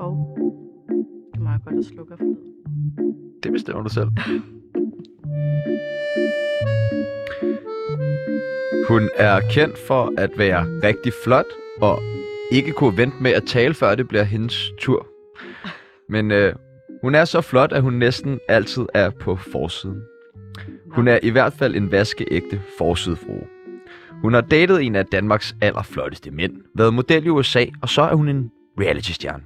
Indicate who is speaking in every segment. Speaker 1: Og det er meget godt at slukke for lyden.
Speaker 2: Det bestemmer du selv. Hun er kendt for at være rigtig flot og ikke kunne vente med at tale, før det bliver hendes tur. Men øh, hun er så flot, at hun næsten altid er på forsiden.
Speaker 1: Nå,
Speaker 2: Hun er i hvert fald en vaskeægte forsidefrue. Hun har datet en af Danmarks allerflotteste mænd, været model i USA, og så er hun en reality-stjerne.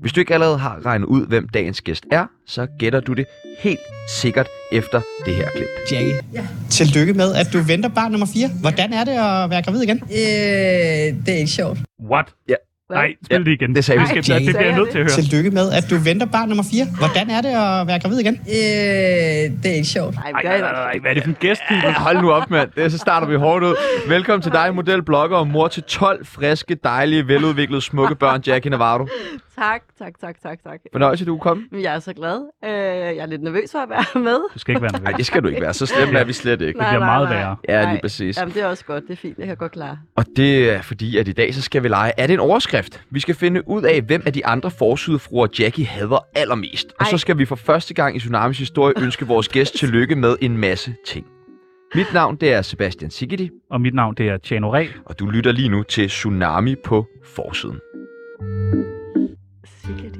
Speaker 2: Hvis du ikke allerede har regnet ud, hvem dagens gæst er, så gætter du det helt sikkert efter det her klip.
Speaker 3: Jackie, ja. tillykke med, at du venter barn nummer 4. Hvordan er det at være gravid igen?
Speaker 4: Øh, det er ikke sjovt.
Speaker 5: What?
Speaker 2: Ja.
Speaker 5: Nej, spil det igen.
Speaker 2: Det sagde vi.
Speaker 5: vi. Skal,
Speaker 3: Ej,
Speaker 5: det bliver jeg nødt til at høre.
Speaker 3: Tillykke med, at du venter barn nummer 4. Hvordan er det at være gravid igen?
Speaker 4: Øh, det er ikke sjovt.
Speaker 1: Nej,
Speaker 5: Ej,
Speaker 1: det er
Speaker 5: nej,
Speaker 1: i
Speaker 5: nej,
Speaker 1: hvert fald
Speaker 5: nej,
Speaker 1: ikke.
Speaker 5: hvad er det for en gæst, Peter?
Speaker 2: Ja, Hold nu op, mand. Det, så starter vi hårdt ud. Velkommen til dig, model, blogger og mor til 12 friske, dejlige, veludviklede, smukke børn, Jackie Navarro.
Speaker 1: Tak, tak, tak, tak, tak.
Speaker 2: Fornøjelse, du er kommet.
Speaker 1: Men jeg er så glad. Øh, jeg er lidt nervøs for at være med.
Speaker 5: Du skal ikke være
Speaker 2: Nej,
Speaker 5: nervøs.
Speaker 2: det skal du ikke være. Så slemt er vi slet ikke.
Speaker 1: Nej,
Speaker 5: bliver
Speaker 1: nej,
Speaker 5: meget
Speaker 1: nej.
Speaker 5: værre.
Speaker 2: Ja, lige
Speaker 1: Nej.
Speaker 2: præcis.
Speaker 1: Jamen, det er også godt. Det er fint. Jeg kan godt klare.
Speaker 2: Og det er fordi, at i dag så skal vi lege. Er det en overskrift? Vi skal finde ud af, hvem af de andre forsydefruer Jackie hader allermest. Og så
Speaker 1: Ej.
Speaker 2: skal vi for første gang i Tsunamis historie ønske vores gæst tillykke med en masse ting. Mit navn det er Sebastian Sigidi,
Speaker 5: Og mit navn, det er Tjano Ræ.
Speaker 2: og du lytter lige nu til Tsunami på forsiden.
Speaker 1: Sikke det.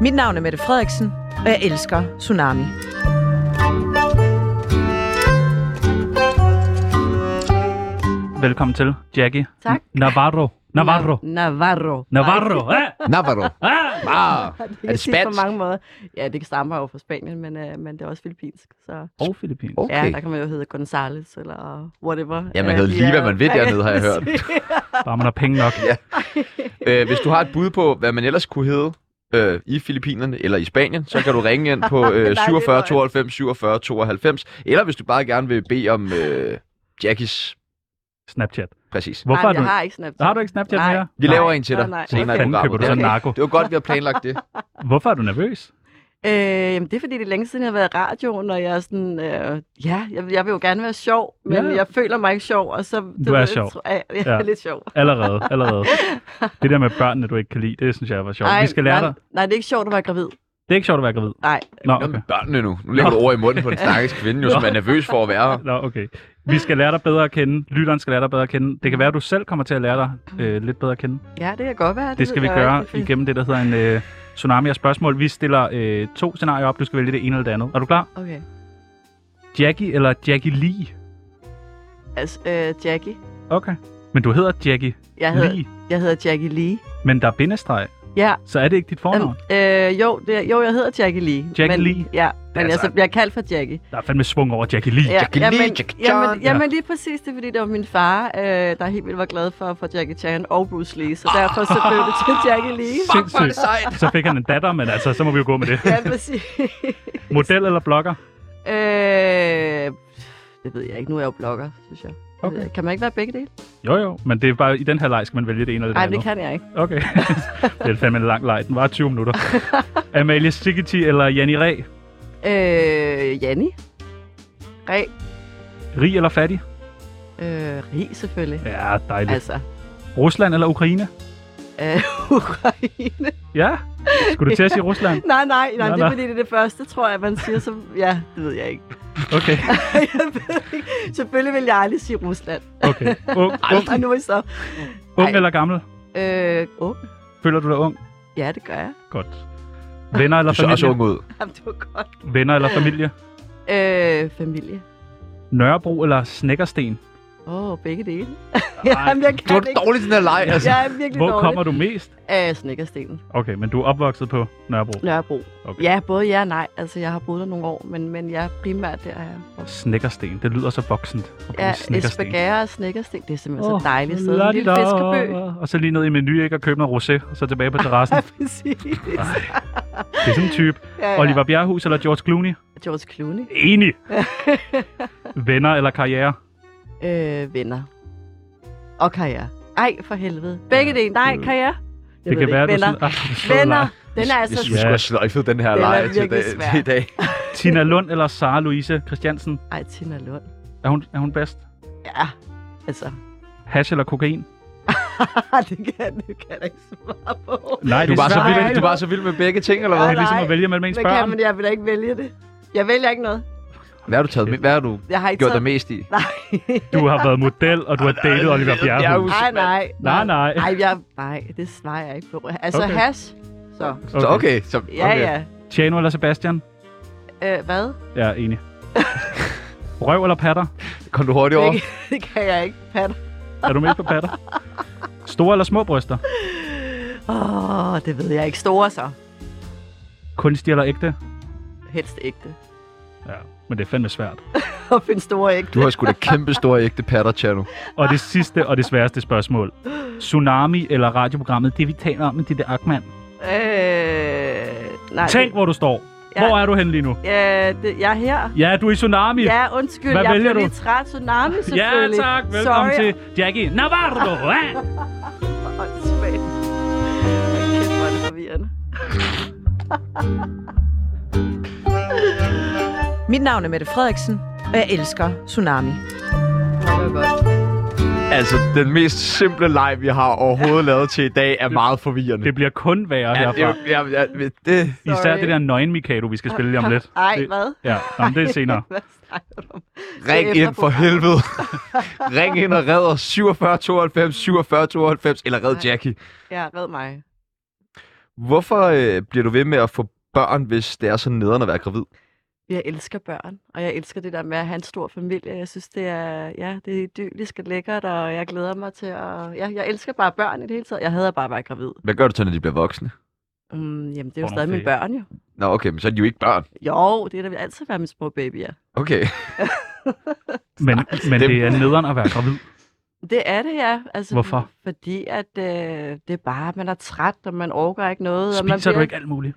Speaker 6: Mit navn er Mette Frederiksen, og jeg elsker Tsunami.
Speaker 5: Velkommen til, Jackie.
Speaker 1: Tak.
Speaker 5: N- Navarro. Navarro.
Speaker 1: Nav- Navarro.
Speaker 5: Navarro. Ah!
Speaker 2: Navarro.
Speaker 5: Ah!
Speaker 2: Ah,
Speaker 1: Nej, det kan
Speaker 2: er
Speaker 1: siges
Speaker 2: det spansk?
Speaker 1: På mange måder. Ja, det stammer jo fra Spanien, men, øh, men det er også filippinsk. Så
Speaker 5: Og Filippin.
Speaker 2: Okay.
Speaker 1: ja, der kan man jo hedde Gonzales eller whatever.
Speaker 2: Ja, man
Speaker 1: Øh,
Speaker 2: kan
Speaker 1: de
Speaker 2: lige,
Speaker 1: er-
Speaker 2: hvad man vil
Speaker 1: Ja, ja,
Speaker 2: dernede, har jeg hørt.
Speaker 1: præcis.
Speaker 5: Bare man har penge nok.
Speaker 2: Øh, hvis du har et bud på, hvad man ellers kunne hedde øh, i Filippinerne eller i Spanien, så kan du ringe ind på øh,
Speaker 1: det er
Speaker 2: 47
Speaker 1: løgn.
Speaker 2: 92 47 92. Eller hvis du bare gerne vil bede om øh, Jackies...
Speaker 5: Snapchat.
Speaker 2: Præcis.
Speaker 5: Hvorfor
Speaker 1: Nej,
Speaker 5: er du...
Speaker 1: jeg har ikke Snapchat.
Speaker 5: Har du ikke Snapchat
Speaker 1: Nej.
Speaker 5: mere?
Speaker 2: Vi
Speaker 5: Nej.
Speaker 2: laver en til
Speaker 1: nej,
Speaker 2: dig
Speaker 1: nej.
Speaker 2: senere i
Speaker 5: Fanden køber
Speaker 2: programmet.
Speaker 5: du så
Speaker 2: Okay.
Speaker 5: narko?
Speaker 2: Det var godt, vi har planlagt det.
Speaker 5: Hvorfor er du nervøs?
Speaker 1: Øh, jamen, det er fordi, det er længe siden, jeg har været i radioen, og jeg er sådan, øh, ja, jeg, jeg vil jo gerne være sjov, men
Speaker 5: Ja.
Speaker 1: ja. jeg føler mig ikke sjov, og så...
Speaker 5: Du er
Speaker 1: ved,
Speaker 5: sjov.
Speaker 1: tror Jeg, jeg
Speaker 5: Ja.
Speaker 1: er lidt sjov.
Speaker 5: Allerede, allerede. Det der med børnene, du ikke kan lide, det synes jeg var sjovt. Vi skal lære
Speaker 1: nej,
Speaker 5: dig.
Speaker 1: nej, det er ikke sjovt at være gravid.
Speaker 5: Det er ikke sjovt at være gravid.
Speaker 1: Nej,
Speaker 5: Nå,
Speaker 2: Noget med
Speaker 5: okay.
Speaker 2: børnene nu. Nu lægger du ord i munden på en stakkels kvinde, jo, som er nervøs for at være her.
Speaker 5: Nå, okay. Vi skal lære dig bedre at kende. Lytteren skal lære dig bedre at kende. Det kan være, at du selv kommer til at lære dig øh, lidt bedre at kende.
Speaker 1: ja, det kan godt være.
Speaker 5: Det skal vi
Speaker 1: ved jeg jo
Speaker 5: gøre
Speaker 1: ikke.
Speaker 5: igennem det, der hedder en øh, tsunami af spørgsmål. Vi stiller øh, to scenarier op. Du skal vælge det ene eller det andet. Er du klar?
Speaker 1: Okay.
Speaker 5: Jackie eller Jackie Lee?
Speaker 1: Altså, øh, Jackie.
Speaker 5: Okay. Men du hedder Jackie
Speaker 1: Jeg hedder,
Speaker 5: Lee,
Speaker 1: jeg hedder Jackie Lee.
Speaker 5: men der er bindestreg.
Speaker 1: Ja.
Speaker 5: Så er det ikke dit fornavn?
Speaker 1: Øhm, øh, jo, det, er- jo, jeg hedder Jackie Lee.
Speaker 5: Jackie
Speaker 1: men,
Speaker 5: Lee?
Speaker 1: Ja, men jeg
Speaker 2: altså-
Speaker 1: så bliver kaldt for Jackie.
Speaker 5: Der er fandme svung over Jackie Lee.
Speaker 1: Ja,
Speaker 2: Jackie Lee,
Speaker 1: jamen,
Speaker 2: Jackie Chan.
Speaker 1: jamen, jamen lige præcis, det er fordi, det var min far, øh, der helt vildt var glad for, for Jackie Chan og Bruce Lee, så derfor så blev det til Jackie Lee.
Speaker 2: Fuck, hvor er det sejt.
Speaker 5: Så fik han en datter, men altså, så må vi jo gå med det.
Speaker 1: Ja, præcis.
Speaker 5: Model eller blogger?
Speaker 1: øh, det ved jeg ikke, nu er jeg jo blogger, synes jeg. Det ved
Speaker 5: Okay.
Speaker 1: jeg ikke. Kan man ikke være begge dele?
Speaker 5: Jo, jo, men det er bare, i den her leg skal man vælge det ene eller det
Speaker 1: Nej, det
Speaker 5: andet.
Speaker 1: kan jeg ikke.
Speaker 5: Okay. det er fandme en lang leg. Den var 20 minutter. Amalie Sigeti eller Janni Ræ?
Speaker 1: Øh, Janni? Ræ?
Speaker 5: Rig eller fattig?
Speaker 1: Øh, rig selvfølgelig.
Speaker 5: Ja, dejligt. Altså.
Speaker 1: Altså,
Speaker 5: Rusland eller Ukraine?
Speaker 1: øh, Ukraine.
Speaker 5: Ja. Skulle du til at sige Rusland?
Speaker 1: Nej, nej, nej,
Speaker 5: Nå,
Speaker 1: det
Speaker 5: nå.
Speaker 1: er fordi, det er det første, tror jeg, man siger. Så, ja, det ved jeg ikke.
Speaker 5: Okay.
Speaker 1: jeg ved ikke. Selvfølgelig vil jeg aldrig sige Rusland.
Speaker 5: Okay. Ung, ung,
Speaker 1: Og nu er I så.
Speaker 5: ung eller gammel?
Speaker 1: Øh, oh,
Speaker 5: Føler du dig ung?
Speaker 1: ja, det gør jeg.
Speaker 5: Godt. Venner eller
Speaker 2: Du ser også
Speaker 5: familie?
Speaker 2: ung ud.
Speaker 1: Jamen, det var godt.
Speaker 5: Venner eller familie?
Speaker 1: Øh, familie.
Speaker 5: Nørrebro eller Snækkersten?
Speaker 1: Åh, oh, begge dele.
Speaker 5: Ej,
Speaker 1: Jamen, jeg
Speaker 2: Du
Speaker 1: kan
Speaker 2: er
Speaker 1: ikke.
Speaker 2: dårlig til den her leg, altså.
Speaker 1: Jeg er virkelig
Speaker 5: Hvor
Speaker 1: dårlig.
Speaker 5: kommer du mest?
Speaker 1: Af Snikkerstenen.
Speaker 5: Okay, men du er opvokset på Nørrebro.
Speaker 1: Nørrebro.
Speaker 5: Okay.
Speaker 1: Ja, både ja og nej. Altså, jeg har boet der nogle år, men, men jeg er primært der. Jeg
Speaker 5: Snækkersten. Det lyder så voksent. at bruge
Speaker 1: Ja,
Speaker 5: Snekkersten.
Speaker 1: Esbjerg og Snikkersten. Det er simpelthen
Speaker 5: Åh,
Speaker 1: så dejligt sted. En lille
Speaker 5: la-di-da.
Speaker 1: fiskeby.
Speaker 5: Og så lige ned i menu, ikke? Og købe noget rosé, og så tilbage på terrassen.
Speaker 1: Ja, præcis.
Speaker 5: det er sådan en type.
Speaker 1: Ja, ja.
Speaker 5: Oliver Bjerrehus eller George Clooney?
Speaker 1: George Clooney.
Speaker 5: Enig. Venner eller karriere?
Speaker 1: Øh, venner. Og karriere. Ej, for helvede. Begge dele. Nej, karriere. Jeg ved
Speaker 5: Mm. det kan være,
Speaker 1: ikke. venner.
Speaker 5: du sådan... Ah, du slår
Speaker 1: Venner.
Speaker 5: leg.
Speaker 1: Den er
Speaker 2: Jeg synes,
Speaker 1: altså...
Speaker 2: vi skulle have sløjfet den her
Speaker 1: Den er
Speaker 2: leg til,
Speaker 1: virkelig
Speaker 2: dag,
Speaker 1: svær.
Speaker 2: til i dag.
Speaker 5: Tina Lund eller Sara Louise Christiansen?
Speaker 1: Ej, Tina Lund.
Speaker 5: Er hun, er hun bedst?
Speaker 1: Ja, altså...
Speaker 5: Hash eller kokain?
Speaker 1: det kan, det kan jeg da ikke svare på.
Speaker 5: Nej,
Speaker 2: Du
Speaker 5: det
Speaker 2: var, så
Speaker 5: svært.
Speaker 2: vild, du var så vild med begge ting, eller
Speaker 5: Det
Speaker 2: hvad?
Speaker 5: er ligesom
Speaker 1: Nej,
Speaker 5: at vælge mellem ens
Speaker 1: Men, kan,
Speaker 5: børn.
Speaker 1: men jeg vil da ikke vælge det. Jeg vælger ikke noget.
Speaker 2: Hvad har du, taget med? Hvad har du
Speaker 1: Jeg har ikke
Speaker 2: gjort dig
Speaker 1: taget...
Speaker 2: mest i?
Speaker 1: Nej.
Speaker 5: Du har været model, og du har datet Oliver Bjerrehus.
Speaker 1: nej, nej.
Speaker 5: Nej, nej.
Speaker 1: Nej, jeg, nej, det svarer jeg ikke på. Altså
Speaker 5: Okay.
Speaker 1: okay. hash, så.
Speaker 2: Så okay, så okay.
Speaker 1: Ja, okay.
Speaker 5: Tjano eller Sebastian?
Speaker 1: ja. Øh, hvad?
Speaker 5: Jeg er enig. Røv eller patter?
Speaker 2: Kom du hurtigt over?
Speaker 1: Det, det kan jeg ikke, Pat.
Speaker 5: Er du med på patter? Store eller små bryster?
Speaker 1: Åh, oh, det ved jeg ikke. Store så.
Speaker 5: Kunstig eller ægte?
Speaker 1: Helst ægte.
Speaker 5: Ja, men det er fandme svært.
Speaker 1: At finde store ægte.
Speaker 2: Du har sgu da kæmpe store ægte patter, Chano.
Speaker 5: Og det sidste og det sværeste spørgsmål. Tsunami eller radioprogrammet, det vi taler om med Ditte Ackmann.
Speaker 1: Øh, nej.
Speaker 5: Tænk, hvor du står.
Speaker 1: Ja.
Speaker 5: Hvor er du henne lige nu?
Speaker 1: Ja, det, jeg er her.
Speaker 5: Ja, du er i Tsunami.
Speaker 1: Ja, undskyld.
Speaker 5: Hvad
Speaker 1: jeg
Speaker 5: vælger
Speaker 1: blev
Speaker 5: du?
Speaker 1: lidt træt. Tsunami,
Speaker 5: ja
Speaker 1: selvfølgelig.
Speaker 5: tak. Velkommen
Speaker 1: Sorry.
Speaker 5: til Jackie Navarro. Ja.
Speaker 1: Åndssvagt. Hold kæft, hvor er det forvirrende.
Speaker 6: Mit navn er Mette Frederiksen, og jeg elsker Tsunami.
Speaker 2: Altså, den mest simple leg, vi har overhovedet lavet til i dag, er meget forvirrende.
Speaker 5: Det bliver kun værre
Speaker 2: Ja,
Speaker 5: herfra.
Speaker 2: det, ja, ja, det,
Speaker 5: Især
Speaker 1: Sorry.
Speaker 5: det der nøgen Mikado, vi skal spille lige om lidt.
Speaker 1: Ej,
Speaker 5: Det-
Speaker 1: hvad?
Speaker 5: Ja, nå, men det er senere.
Speaker 1: Hvad snakker du om?
Speaker 2: ring
Speaker 1: Det er
Speaker 2: ind for helvede. ring ind og red os 47 92, 47 92, eller red Jackie.
Speaker 1: Ja, red mig.
Speaker 2: Hvorfor øh, bliver du ved med at få børn, hvis det er så nederen at være gravid?
Speaker 1: Jeg elsker børn, og jeg elsker det der med at have en stor familie. Jeg synes, det er, ja, det er idyllisk og lækkert, og jeg glæder mig til at... Ja, jeg elsker bare børn i det hele taget. Jeg hader bare at være gravid.
Speaker 2: Hvad gør du så, når de bliver voksne?
Speaker 1: Mm, jamen, det er
Speaker 5: Får
Speaker 1: jo
Speaker 5: nogle
Speaker 1: stadig mine
Speaker 5: ferie.
Speaker 1: børn, jo.
Speaker 2: Nå, okay, men så er de jo ikke børn.
Speaker 1: Jo, det er da vil altid være mine små babyer.
Speaker 2: Okay.
Speaker 5: Men, men
Speaker 2: Dem.
Speaker 5: det er nederen at være gravid.
Speaker 1: Det er det, ja. Altså,
Speaker 5: Hvorfor?
Speaker 1: Fordi at øh, det er bare, man er træt, og man overgår ikke noget. og man
Speaker 5: Spiser du
Speaker 1: bliver-
Speaker 5: ikke alt muligt?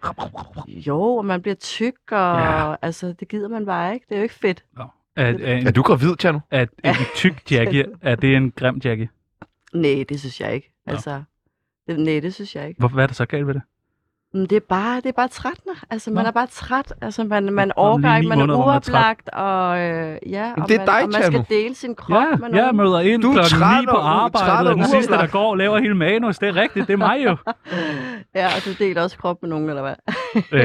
Speaker 1: Jo, og man bliver tyk, og
Speaker 5: Ja.
Speaker 1: ja. altså, det gider man bare ikke. Det er jo ikke fedt.
Speaker 5: Nå. Er, er,
Speaker 2: Er
Speaker 5: en,
Speaker 2: du gravid, Tjerno?
Speaker 5: er, er en tyk Jackie, er det en grim Jackie?
Speaker 1: Nej, det synes jeg ikke.
Speaker 5: Nå.
Speaker 1: Altså, det, nej, det synes jeg ikke.
Speaker 5: Hvor, hvad er der så galt ved det?
Speaker 1: Men det er bare, det er bare trættende. Altså,
Speaker 5: Nå.
Speaker 1: man er bare træt. Altså, man, man
Speaker 5: er lige
Speaker 1: overgår
Speaker 5: ni
Speaker 1: ikke, man er
Speaker 5: måneder, hvor man er træt.
Speaker 1: uoplagt, og øh, ja, og
Speaker 2: det er
Speaker 1: man,
Speaker 2: dig,
Speaker 1: og man
Speaker 2: Tjerno.
Speaker 1: skal dele sin krop
Speaker 5: Ja,
Speaker 1: med
Speaker 5: jeg
Speaker 1: nogen.
Speaker 5: møder ind
Speaker 2: Du er
Speaker 5: klokken
Speaker 2: træt
Speaker 5: 9 på
Speaker 2: og u- træt
Speaker 5: arbejde,
Speaker 2: og
Speaker 5: og den sidste, der
Speaker 2: uoplagt.
Speaker 5: går og laver hele manus. Det er rigtigt, det er mig jo.
Speaker 1: Ja, og du deler også krop med nogen, eller hvad?
Speaker 5: øh,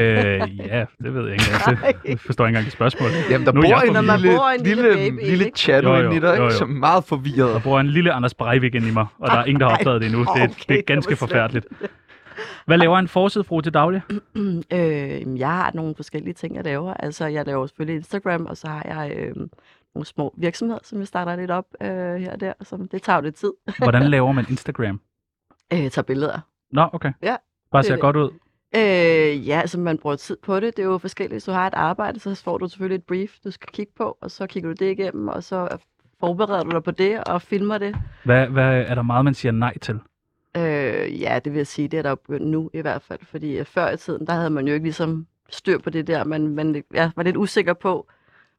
Speaker 5: ja, det ved jeg ikke engang til. Jeg forstår ikke engang et spørgsmål.
Speaker 2: Jamen, der
Speaker 5: Nu er
Speaker 2: bor,
Speaker 5: jeg
Speaker 2: en
Speaker 5: forvirret.
Speaker 1: Når man
Speaker 2: lille,
Speaker 1: bor en lille
Speaker 2: lille,
Speaker 1: baby,
Speaker 2: lille
Speaker 1: ikke?
Speaker 2: Tjerno
Speaker 5: Jo, jo,
Speaker 2: ind i dig,
Speaker 5: jo,
Speaker 2: ikke?
Speaker 5: jo.
Speaker 2: Som er meget forvirret.
Speaker 5: Der bor en lille Anders Breivik ind i mig, og der er ingen, der har opdaget det endnu. Det, det er
Speaker 1: Okay,
Speaker 5: ganske
Speaker 1: det var
Speaker 5: forfærdeligt. Hvad laver en forsidefru til daglig?
Speaker 1: Øh, jamen, jeg har nogle forskellige ting, jeg laver. Altså, jeg laver selvfølgelig Instagram, og så har jeg øh, nogle små virksomheder, som jeg starter lidt op øh, her og der. Som, det tager jo lidt tid.
Speaker 5: Hvordan laver man Instagram?
Speaker 1: Øh, tager billeder.
Speaker 5: Nå, okay.
Speaker 1: Ja,
Speaker 5: Bare
Speaker 1: det er
Speaker 5: ser
Speaker 1: det.
Speaker 5: godt ud.
Speaker 1: Øh, ja, altså man bruger tid på det. Det er jo forskelligt. Hvis du har et arbejde, så får du selvfølgelig et brief, du skal kigge på, og så kigger du det igennem, og så forbereder du dig på det og filmer det.
Speaker 5: Hvad, hvad er der meget, man siger nej til?
Speaker 1: Øh, ja, det vil jeg sige, det er der jo begyndt nu i hvert fald, fordi øh, før i tiden, der havde man jo ikke ligesom styr på det der, men man ja, var lidt usikker på,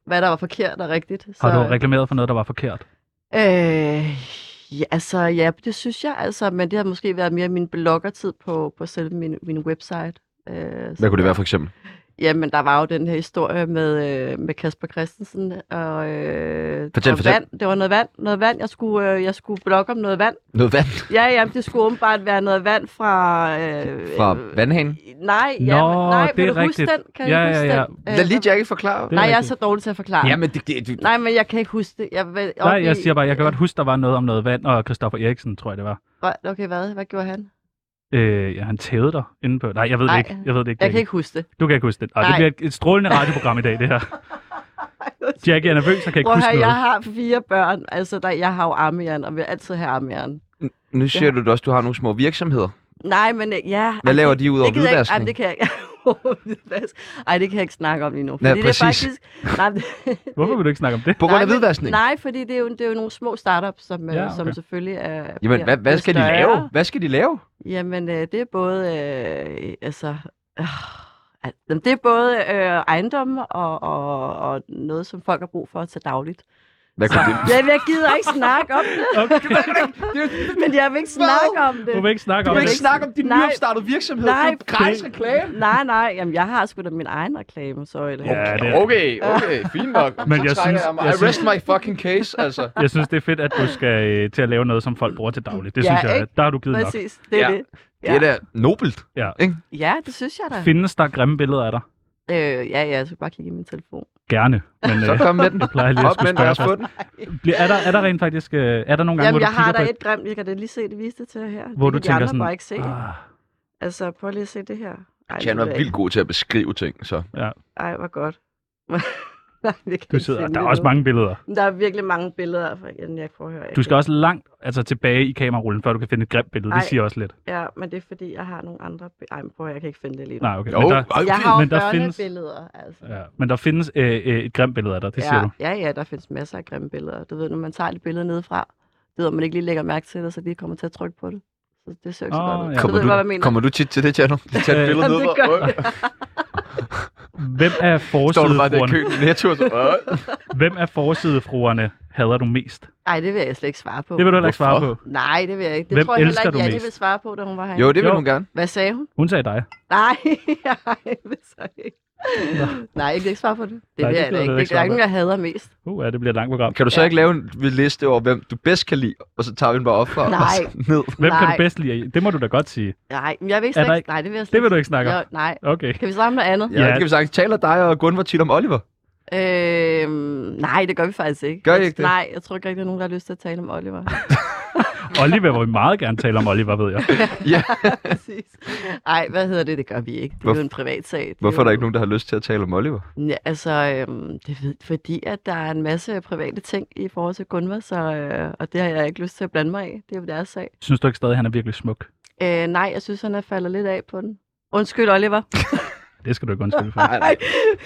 Speaker 1: hvad der var forkert og rigtigt. Så,
Speaker 5: Har du reklameret for noget, der var forkert?
Speaker 1: Øh, ja, altså, ja, det synes jeg altså, men det har måske været mere min bloggertid på, på selve min, min website. Øh,
Speaker 2: Hvad
Speaker 1: så-
Speaker 2: kunne det være for eksempel?
Speaker 1: Jamen, der var jo den her historie med, øh, med Kasper Christensen og, øh,
Speaker 2: Fortæl,
Speaker 1: og
Speaker 2: fortæl.
Speaker 1: vand. Det var noget vand. Noget vand. Jeg skulle, øh, jeg skulle blogge om noget vand.
Speaker 2: Noget vand
Speaker 1: Ja, ja, det skulle åbenbart være noget vand fra... Øh,
Speaker 2: fra
Speaker 1: øh,
Speaker 2: vandhanen?
Speaker 1: Nej, ja,
Speaker 5: Nå,
Speaker 1: men- nej,
Speaker 5: det er
Speaker 1: vil du huske
Speaker 5: rigtigt.
Speaker 1: den? Kan
Speaker 5: Ja,
Speaker 1: du huske
Speaker 5: ja, ja.
Speaker 1: Den? Øh,
Speaker 2: Lad lige Jackie forklare.
Speaker 5: Det-
Speaker 1: nej, jeg er
Speaker 5: rigtigt.
Speaker 1: så dårlig til at forklare.
Speaker 2: Jamen, det, det, du,
Speaker 1: Nej, men jeg kan ikke huske det. Jeg, hvad,
Speaker 5: Nej, jeg siger bare, jeg kan godt huske, der var noget om noget vand, og Christoffer Eriksen, tror jeg det var.
Speaker 1: Okay, hvad? Hvad gjorde han?
Speaker 5: Øh, ja, han tævede dig inde på. Nej, jeg ved det
Speaker 1: Nej,
Speaker 5: ikke. Jeg ved det ikke.
Speaker 1: Jeg kan
Speaker 5: Jackie.
Speaker 1: ikke huske det.
Speaker 5: Du kan ikke huske det. Ej, det
Speaker 1: Nej.
Speaker 5: bliver et, et strålende radioprogram i dag, det her. Jackie jeg er nervøs, og kan ikke
Speaker 1: Prøv at
Speaker 5: huske
Speaker 1: høre, jeg
Speaker 5: noget.
Speaker 1: har fire børn. Altså, der, jeg har jo armjern, og vil altid have armjern.
Speaker 2: nu siger du da også, du har nogle små virksomheder.
Speaker 1: Nej, men øh, ja...
Speaker 2: Hvad
Speaker 1: ej,
Speaker 2: laver
Speaker 1: det-
Speaker 2: de ud over
Speaker 1: det gider jeg ikke-
Speaker 2: hvidvaskning?
Speaker 1: Ej, det kan jeg ikke. Hvidvask. Ej, det kan jeg ikke snakke om lige nu.
Speaker 2: Nej,
Speaker 1: fordi
Speaker 2: præcis.
Speaker 1: Det er faktisk... Nej, men-
Speaker 5: Hvorfor vil du ikke snakke om det?
Speaker 2: På grund af
Speaker 1: men-
Speaker 2: hvidvaskning?
Speaker 1: Nej, fordi det er, jo, det er jo nogle små startups, som,
Speaker 5: Ja,
Speaker 1: ja, okay.
Speaker 5: okay.
Speaker 1: som selvfølgelig er...
Speaker 2: Jamen,
Speaker 1: bliver-
Speaker 2: hvad, hvad
Speaker 1: bliver
Speaker 2: skal de
Speaker 1: større.
Speaker 2: lave? Hvad skal de lave?
Speaker 1: Jamen, øh, det er både... Øh, altså... Øh, al- jamen, det er både øh, ejendom og, og, og noget, som folk har brug for til dagligt.
Speaker 2: Hvad kunne det?
Speaker 1: Ja, jeg gider ikke snakke om det,
Speaker 5: Okay.
Speaker 1: men jeg vil ikke snakke om det.
Speaker 5: Du vil ikke snakke
Speaker 2: Du
Speaker 5: om
Speaker 2: vil
Speaker 5: det.
Speaker 2: ikke snakke om din
Speaker 1: Nej.
Speaker 2: nyopstartede virksomhed.
Speaker 1: Nej.
Speaker 2: Det er gratis reklame.
Speaker 1: Nej, nej, jamen, jeg har sgu da min egen reklame, så er det.
Speaker 5: Ja, det er-
Speaker 2: Okay, okay, fint nok.
Speaker 5: Men jeg synes- jeg synes-
Speaker 2: my fucking case, altså.
Speaker 5: Jeg synes, det er fedt, at du skal øh, til at lave noget, som folk bruger til dagligt. Det
Speaker 1: Ja,
Speaker 5: synes jeg,
Speaker 1: ikke?
Speaker 5: der har du givet nok.
Speaker 1: Præcis, det er
Speaker 2: Ja.
Speaker 1: det.
Speaker 2: Det er da nobelt.
Speaker 5: Ja.
Speaker 1: Ja, det synes jeg da.
Speaker 5: Findes der grimme billeder af dig?
Speaker 1: Øh, ja, ja, jeg skal bare kigge i min telefon.
Speaker 5: Gerne. Men
Speaker 2: Så
Speaker 5: øh,
Speaker 2: kom med den.
Speaker 5: jeg plejer lige at
Speaker 2: Op med
Speaker 5: skulle
Speaker 2: den, lad
Speaker 5: spørge
Speaker 2: os få
Speaker 5: først.
Speaker 2: den.
Speaker 5: Bliver- Er der, er der rent faktisk... øh, Er der nogle gange,
Speaker 1: Jamen,
Speaker 5: hvor du
Speaker 1: jeg har
Speaker 5: kigger
Speaker 1: da
Speaker 5: på...
Speaker 1: et grimt, jeg kan da lige se det viste til her.
Speaker 5: Hvor
Speaker 1: Det
Speaker 5: du
Speaker 1: kan de
Speaker 5: tænker
Speaker 1: andre
Speaker 5: sådan...
Speaker 1: bare ikke se.
Speaker 5: "Ah,
Speaker 1: Altså, prøv lige at se det her. Ej,
Speaker 2: Jan
Speaker 1: det
Speaker 2: var
Speaker 1: ved jeg
Speaker 2: vildt god til at beskrive ting, så.
Speaker 1: ikke. Ej, hvor godt. Nej, det kan
Speaker 5: Du
Speaker 1: jeg
Speaker 5: sidder,
Speaker 1: ikke
Speaker 5: der er
Speaker 1: finde
Speaker 5: også
Speaker 1: nu.
Speaker 5: mange billeder.
Speaker 1: Der er virkelig mange billeder, for jeg, jeg prøver at høre. jeg
Speaker 5: Du skal
Speaker 1: kan-
Speaker 5: også langt altså, tilbage i kamerarullen, før du kan finde et grimt billede. Det
Speaker 1: Ej.
Speaker 5: siger også lidt.
Speaker 1: Ja, men det er fordi, jeg har nogle andre... bi- Ej, men prøv at høre, jeg kan ikke finde det lige nu.
Speaker 5: Nej, okay.
Speaker 2: Jo,
Speaker 5: Men der,
Speaker 2: okay.
Speaker 1: Jeg har jo
Speaker 5: Men der findes-
Speaker 1: børnebilleder, altså.
Speaker 5: ja, men der findes øh, øh, et grimt billede af dig, det siger
Speaker 1: ja,
Speaker 5: du.
Speaker 1: Ja, ja, der findes masser af grimme billeder. Du ved, når man tager et billede nedefra, det ved, at man ikke lige lægger mærke til det, så de kommer til at trykke på det. Så det ser jo ikke så
Speaker 5: Åh,
Speaker 1: godt ud.
Speaker 5: ja.
Speaker 1: Så ved, du, hvad jeg mener.
Speaker 2: kommer du tit til det, Tjerno? De tager et
Speaker 5: Øh,
Speaker 2: billede
Speaker 1: Jamen,
Speaker 2: ned,
Speaker 1: det gør jeg.
Speaker 5: Hvem af
Speaker 2: står du bare der i
Speaker 5: forsidefruerne,
Speaker 2: køen i Netto, og så, "Åh."
Speaker 5: hvem af forsidefruerne hader du mest?
Speaker 1: Ej, det vil jeg slet ikke svare på.
Speaker 5: Det vil du heller ikke svare
Speaker 2: Hvorfor?
Speaker 5: på.
Speaker 1: Nej, det vil jeg ikke. Det
Speaker 5: Hvem
Speaker 1: tror jeg heller
Speaker 5: elsker
Speaker 1: ikke,
Speaker 5: du
Speaker 1: jeg
Speaker 5: mest?
Speaker 1: vil svare på, da hun var herinde.
Speaker 2: Jo, det vil
Speaker 5: Jo.
Speaker 2: hun gerne.
Speaker 1: Hvad sagde hun?
Speaker 5: Hun sagde dig.
Speaker 1: Nej, nej, det sagde jeg ikke. Nej, jeg kan ikke svare på det. Det
Speaker 5: Nej,
Speaker 1: vil
Speaker 5: det
Speaker 1: jeg da
Speaker 5: gider
Speaker 1: ikke.
Speaker 5: du
Speaker 1: Det
Speaker 5: ikke
Speaker 1: er der
Speaker 5: svare
Speaker 1: ikke, nogen, jeg hader mest.
Speaker 5: Uh, ja, det bliver et langt program.
Speaker 2: Kan du så ikke lave en liste over, hvem du bedst kan lide, og så tager vi den bare op fra og
Speaker 1: Nej.
Speaker 2: så ned?
Speaker 5: Hvem kan
Speaker 1: Nej.
Speaker 5: du bedst lide? Det må du da godt sige.
Speaker 1: Nej, men jeg vil
Speaker 5: Er
Speaker 1: slet
Speaker 5: der
Speaker 1: ikke.
Speaker 5: ikke-
Speaker 1: Nej, det vil jeg slet
Speaker 5: Det vil du ikke snakke om.
Speaker 1: Jo, nej.
Speaker 5: Okay.
Speaker 1: Kan vi snakke om noget andet?
Speaker 2: Ja,
Speaker 5: Ja.
Speaker 2: det kan vi sagtens. Taler dig og Gunvar tit om Oliver?
Speaker 1: Øhm, nej, det gør vi faktisk ikke.
Speaker 2: Gør I
Speaker 1: Jeg-
Speaker 2: ikke det?
Speaker 1: Nej, jeg tror ikke rigtig, der er nogen, der har lyst til at tale om Oliver.
Speaker 5: Oliver vil meget gerne tale om Oliver, ved jeg.
Speaker 2: Ja.
Speaker 1: Præcis. Nej, hvad hedder det? Det gør vi ikke. Det er
Speaker 2: Hvorfor-
Speaker 1: jo en privat sag. Det
Speaker 2: Hvorfor er
Speaker 1: jo-
Speaker 2: der ikke nogen, der har lyst til at tale om Oliver?
Speaker 1: Ja, altså, øhm, det ved, fordi at der er en masse private ting i forhold til Gunvar, så, øh, og det har jeg ikke lyst til at blande mig i. Det er jo deres sag.
Speaker 5: Synes du ikke stadig, at han er virkelig smuk?
Speaker 1: Øh, nej, jeg synes, han er faldet lidt af på den. Undskyld, Oliver.
Speaker 5: Det skal du ikke undskylde for.
Speaker 2: Nej, nej.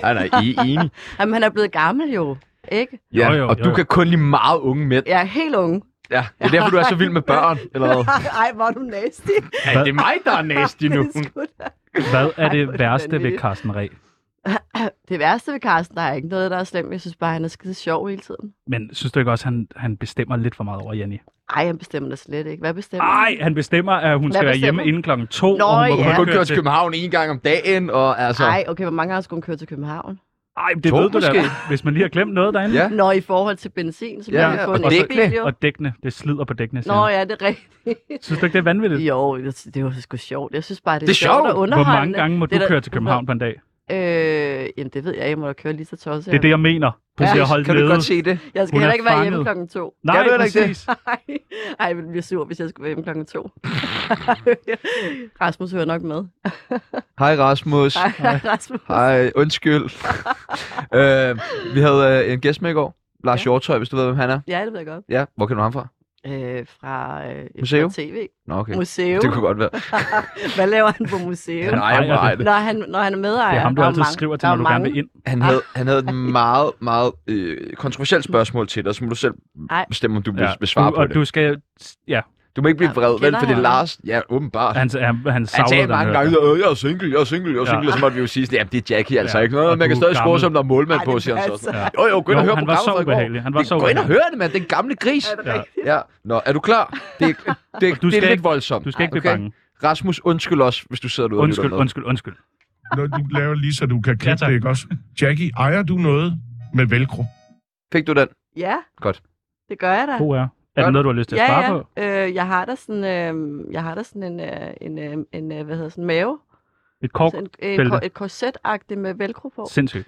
Speaker 2: Nej, nej, I er enige.
Speaker 1: Jamen, han er blevet gammel jo, ikke?
Speaker 2: Ja,
Speaker 5: Jo, jo,
Speaker 2: og
Speaker 5: jo,
Speaker 2: du
Speaker 5: jo.
Speaker 2: kan kun lide meget unge mænd.
Speaker 1: Jeg er helt ung.
Speaker 2: Ja, det er derfor, du er så vild med børn, eller hvad?
Speaker 1: Ej, hvor er du nasty.
Speaker 2: Ja, det er mig, der er nasty nu.
Speaker 1: Det er sgu da-
Speaker 5: Hvad er
Speaker 1: Ej,
Speaker 5: det
Speaker 1: hvor er det
Speaker 5: værste ved
Speaker 1: vanvittigt.
Speaker 5: Carsten Ræ?
Speaker 1: Det værste ved Carsten, der er ikke noget, der er slemt. Jeg synes bare, han er skide sjov hele tiden.
Speaker 5: Men synes du ikke også, at han, han bestemmer lidt for meget over Jenny?
Speaker 1: Ej, han bestemmer da slet ikke. Hvad bestemmer han?
Speaker 5: Nej, han bestemmer, at hun
Speaker 1: Hvad
Speaker 5: skal være
Speaker 1: bestemmer?
Speaker 5: hjemme inden klokken to,
Speaker 1: Nå,
Speaker 5: og hun må
Speaker 1: ja.
Speaker 5: kun
Speaker 2: Kun
Speaker 5: køre
Speaker 2: kørt til
Speaker 5: til...
Speaker 2: København en gang om dagen, og altså...
Speaker 1: Ej, okay, hvor mange gange skulle hun køre til København?
Speaker 5: Ej, det
Speaker 2: To
Speaker 5: ved du da,
Speaker 2: måske.
Speaker 5: hvis man lige har glemt noget derinde.
Speaker 2: Ja.
Speaker 1: Nå, i forhold til benzin, så
Speaker 2: Ja,
Speaker 1: må ja,
Speaker 2: ja,
Speaker 1: få
Speaker 2: og
Speaker 1: en
Speaker 2: dækkene.
Speaker 1: elbil, jo.
Speaker 5: Og dækkene, det slider på dækkene. siger
Speaker 1: Nå,
Speaker 5: han.
Speaker 1: ja, det er rigtigt.
Speaker 5: Synes du ikke, det er vanvittigt?
Speaker 1: Jo, det det var sgu sjovt. Jeg synes bare, det er,
Speaker 2: Det er sjovt.
Speaker 1: og
Speaker 5: Hvor
Speaker 1: underholdende.
Speaker 5: mange gange må
Speaker 1: Det er
Speaker 5: du
Speaker 1: da-
Speaker 5: køre til København på en dag?
Speaker 1: Øh, jamen, det ved jeg. Jeg må da køre lige så tosset.
Speaker 5: Det er det, jeg mener. Du
Speaker 1: Ja.
Speaker 5: siger, hold
Speaker 2: kan du
Speaker 5: nede.
Speaker 2: godt se det?
Speaker 1: Jeg skal
Speaker 5: Hun er
Speaker 1: heller ikke være hjemme
Speaker 5: fanget.
Speaker 1: klokken to.
Speaker 5: Nej,
Speaker 2: Kan du heller ikke det?
Speaker 5: præcis.
Speaker 1: Ej, ej, jeg ville blive sur, hvis jeg skulle være hjemme klokken to. Rasmus hører nok med.
Speaker 2: Hej Rasmus.
Speaker 1: Ej, Rasmus.
Speaker 2: Hej, undskyld. øh, vi havde øh, en gæst med i går. Lars
Speaker 1: Ja.
Speaker 2: Hjortøj, hvis du ved, hvem han er.
Speaker 1: Ja, det ved jeg godt.
Speaker 2: Ja, hvor kender du ham fra?
Speaker 1: Øh, fra, øh,
Speaker 2: Museum?
Speaker 1: fra tv.
Speaker 2: Nå, okay.
Speaker 1: Museum.
Speaker 2: Det kunne godt være.
Speaker 1: Hvad laver han på museum?
Speaker 2: Han
Speaker 5: ejer
Speaker 2: ejer mig.
Speaker 5: det.
Speaker 2: det.
Speaker 1: Når han, når han er medejer.
Speaker 5: Det er ham, du
Speaker 1: der
Speaker 5: altid
Speaker 1: mange-
Speaker 5: skriver til,
Speaker 1: der
Speaker 5: når
Speaker 1: er
Speaker 5: du gerne vil
Speaker 1: mange-
Speaker 5: ind.
Speaker 2: Han havde,
Speaker 1: Ah.
Speaker 2: han havde et meget, meget øh, kontroversielt spørgsmål til dig, så må du selv
Speaker 1: Ej.
Speaker 2: bestemme, om du vil, vil
Speaker 5: du,
Speaker 2: svare på
Speaker 5: og
Speaker 2: det.
Speaker 5: du skal... Ja,
Speaker 2: Du må ikke blive
Speaker 1: Ja,
Speaker 2: vred, vel?
Speaker 1: kender
Speaker 2: Fordi
Speaker 1: han
Speaker 2: Lars, ja, åbenbart.
Speaker 5: han, han, han
Speaker 2: Han
Speaker 5: savler
Speaker 2: sagde
Speaker 5: den.
Speaker 2: mange
Speaker 5: hørte jeg.
Speaker 2: gange, øh, jeg er single, jeg er single, jeg er
Speaker 5: Ja.
Speaker 2: single, og så måtte vi jo sige, sådan, ja, det er Jackie altså
Speaker 5: Ja,
Speaker 2: ikke noget,
Speaker 5: og
Speaker 2: man kan
Speaker 5: du er
Speaker 2: stadig score,
Speaker 5: gammel.
Speaker 2: som der er målmand
Speaker 1: Ej,
Speaker 2: på,
Speaker 1: det-
Speaker 2: siger han så.
Speaker 1: altså.
Speaker 2: sådan. Jo, jo, gå ind
Speaker 5: Jo,
Speaker 2: og hør
Speaker 5: han var så
Speaker 2: programmet fra i går.
Speaker 5: ubehagelig. Han var
Speaker 2: Det-
Speaker 5: så
Speaker 2: Gå ind og
Speaker 5: ubehagelig.
Speaker 2: hør det, mand, den gamle gris.
Speaker 5: Ja.
Speaker 2: Ja, nå, er du klar? Det, er- det, er-
Speaker 5: du
Speaker 2: det
Speaker 5: skal
Speaker 2: er lidt
Speaker 5: ikke-
Speaker 2: voldsomt.
Speaker 5: Du skal ikke blive
Speaker 2: okay?
Speaker 5: bange.
Speaker 2: Rasmus, undskyld os, hvis du sidder derude og
Speaker 5: Undskyld,
Speaker 2: lytter med.
Speaker 5: undskyld, undskyld.
Speaker 7: Når du laver lige, så du kan
Speaker 5: Ja,
Speaker 7: klippe
Speaker 5: tak.
Speaker 7: det, ikke også? Jackie, ejer du noget med velcro?
Speaker 2: Fik du den?
Speaker 1: Ja.
Speaker 2: Godt.
Speaker 1: Det gør jeg da.
Speaker 5: God er. Er det
Speaker 2: Godt.
Speaker 5: noget, du har lyst til at
Speaker 1: ja,
Speaker 5: svare
Speaker 1: ja.
Speaker 5: på?
Speaker 1: Øh, jeg har da sådan, øh, jeg har da sådan en, øh, en, øh, en øh, hvad hedder sådan, mave.
Speaker 5: Et kork?
Speaker 1: Sådan en, en,
Speaker 5: bælte.
Speaker 1: ko- et korsetagtigt med velcro på.
Speaker 5: Sindssygt.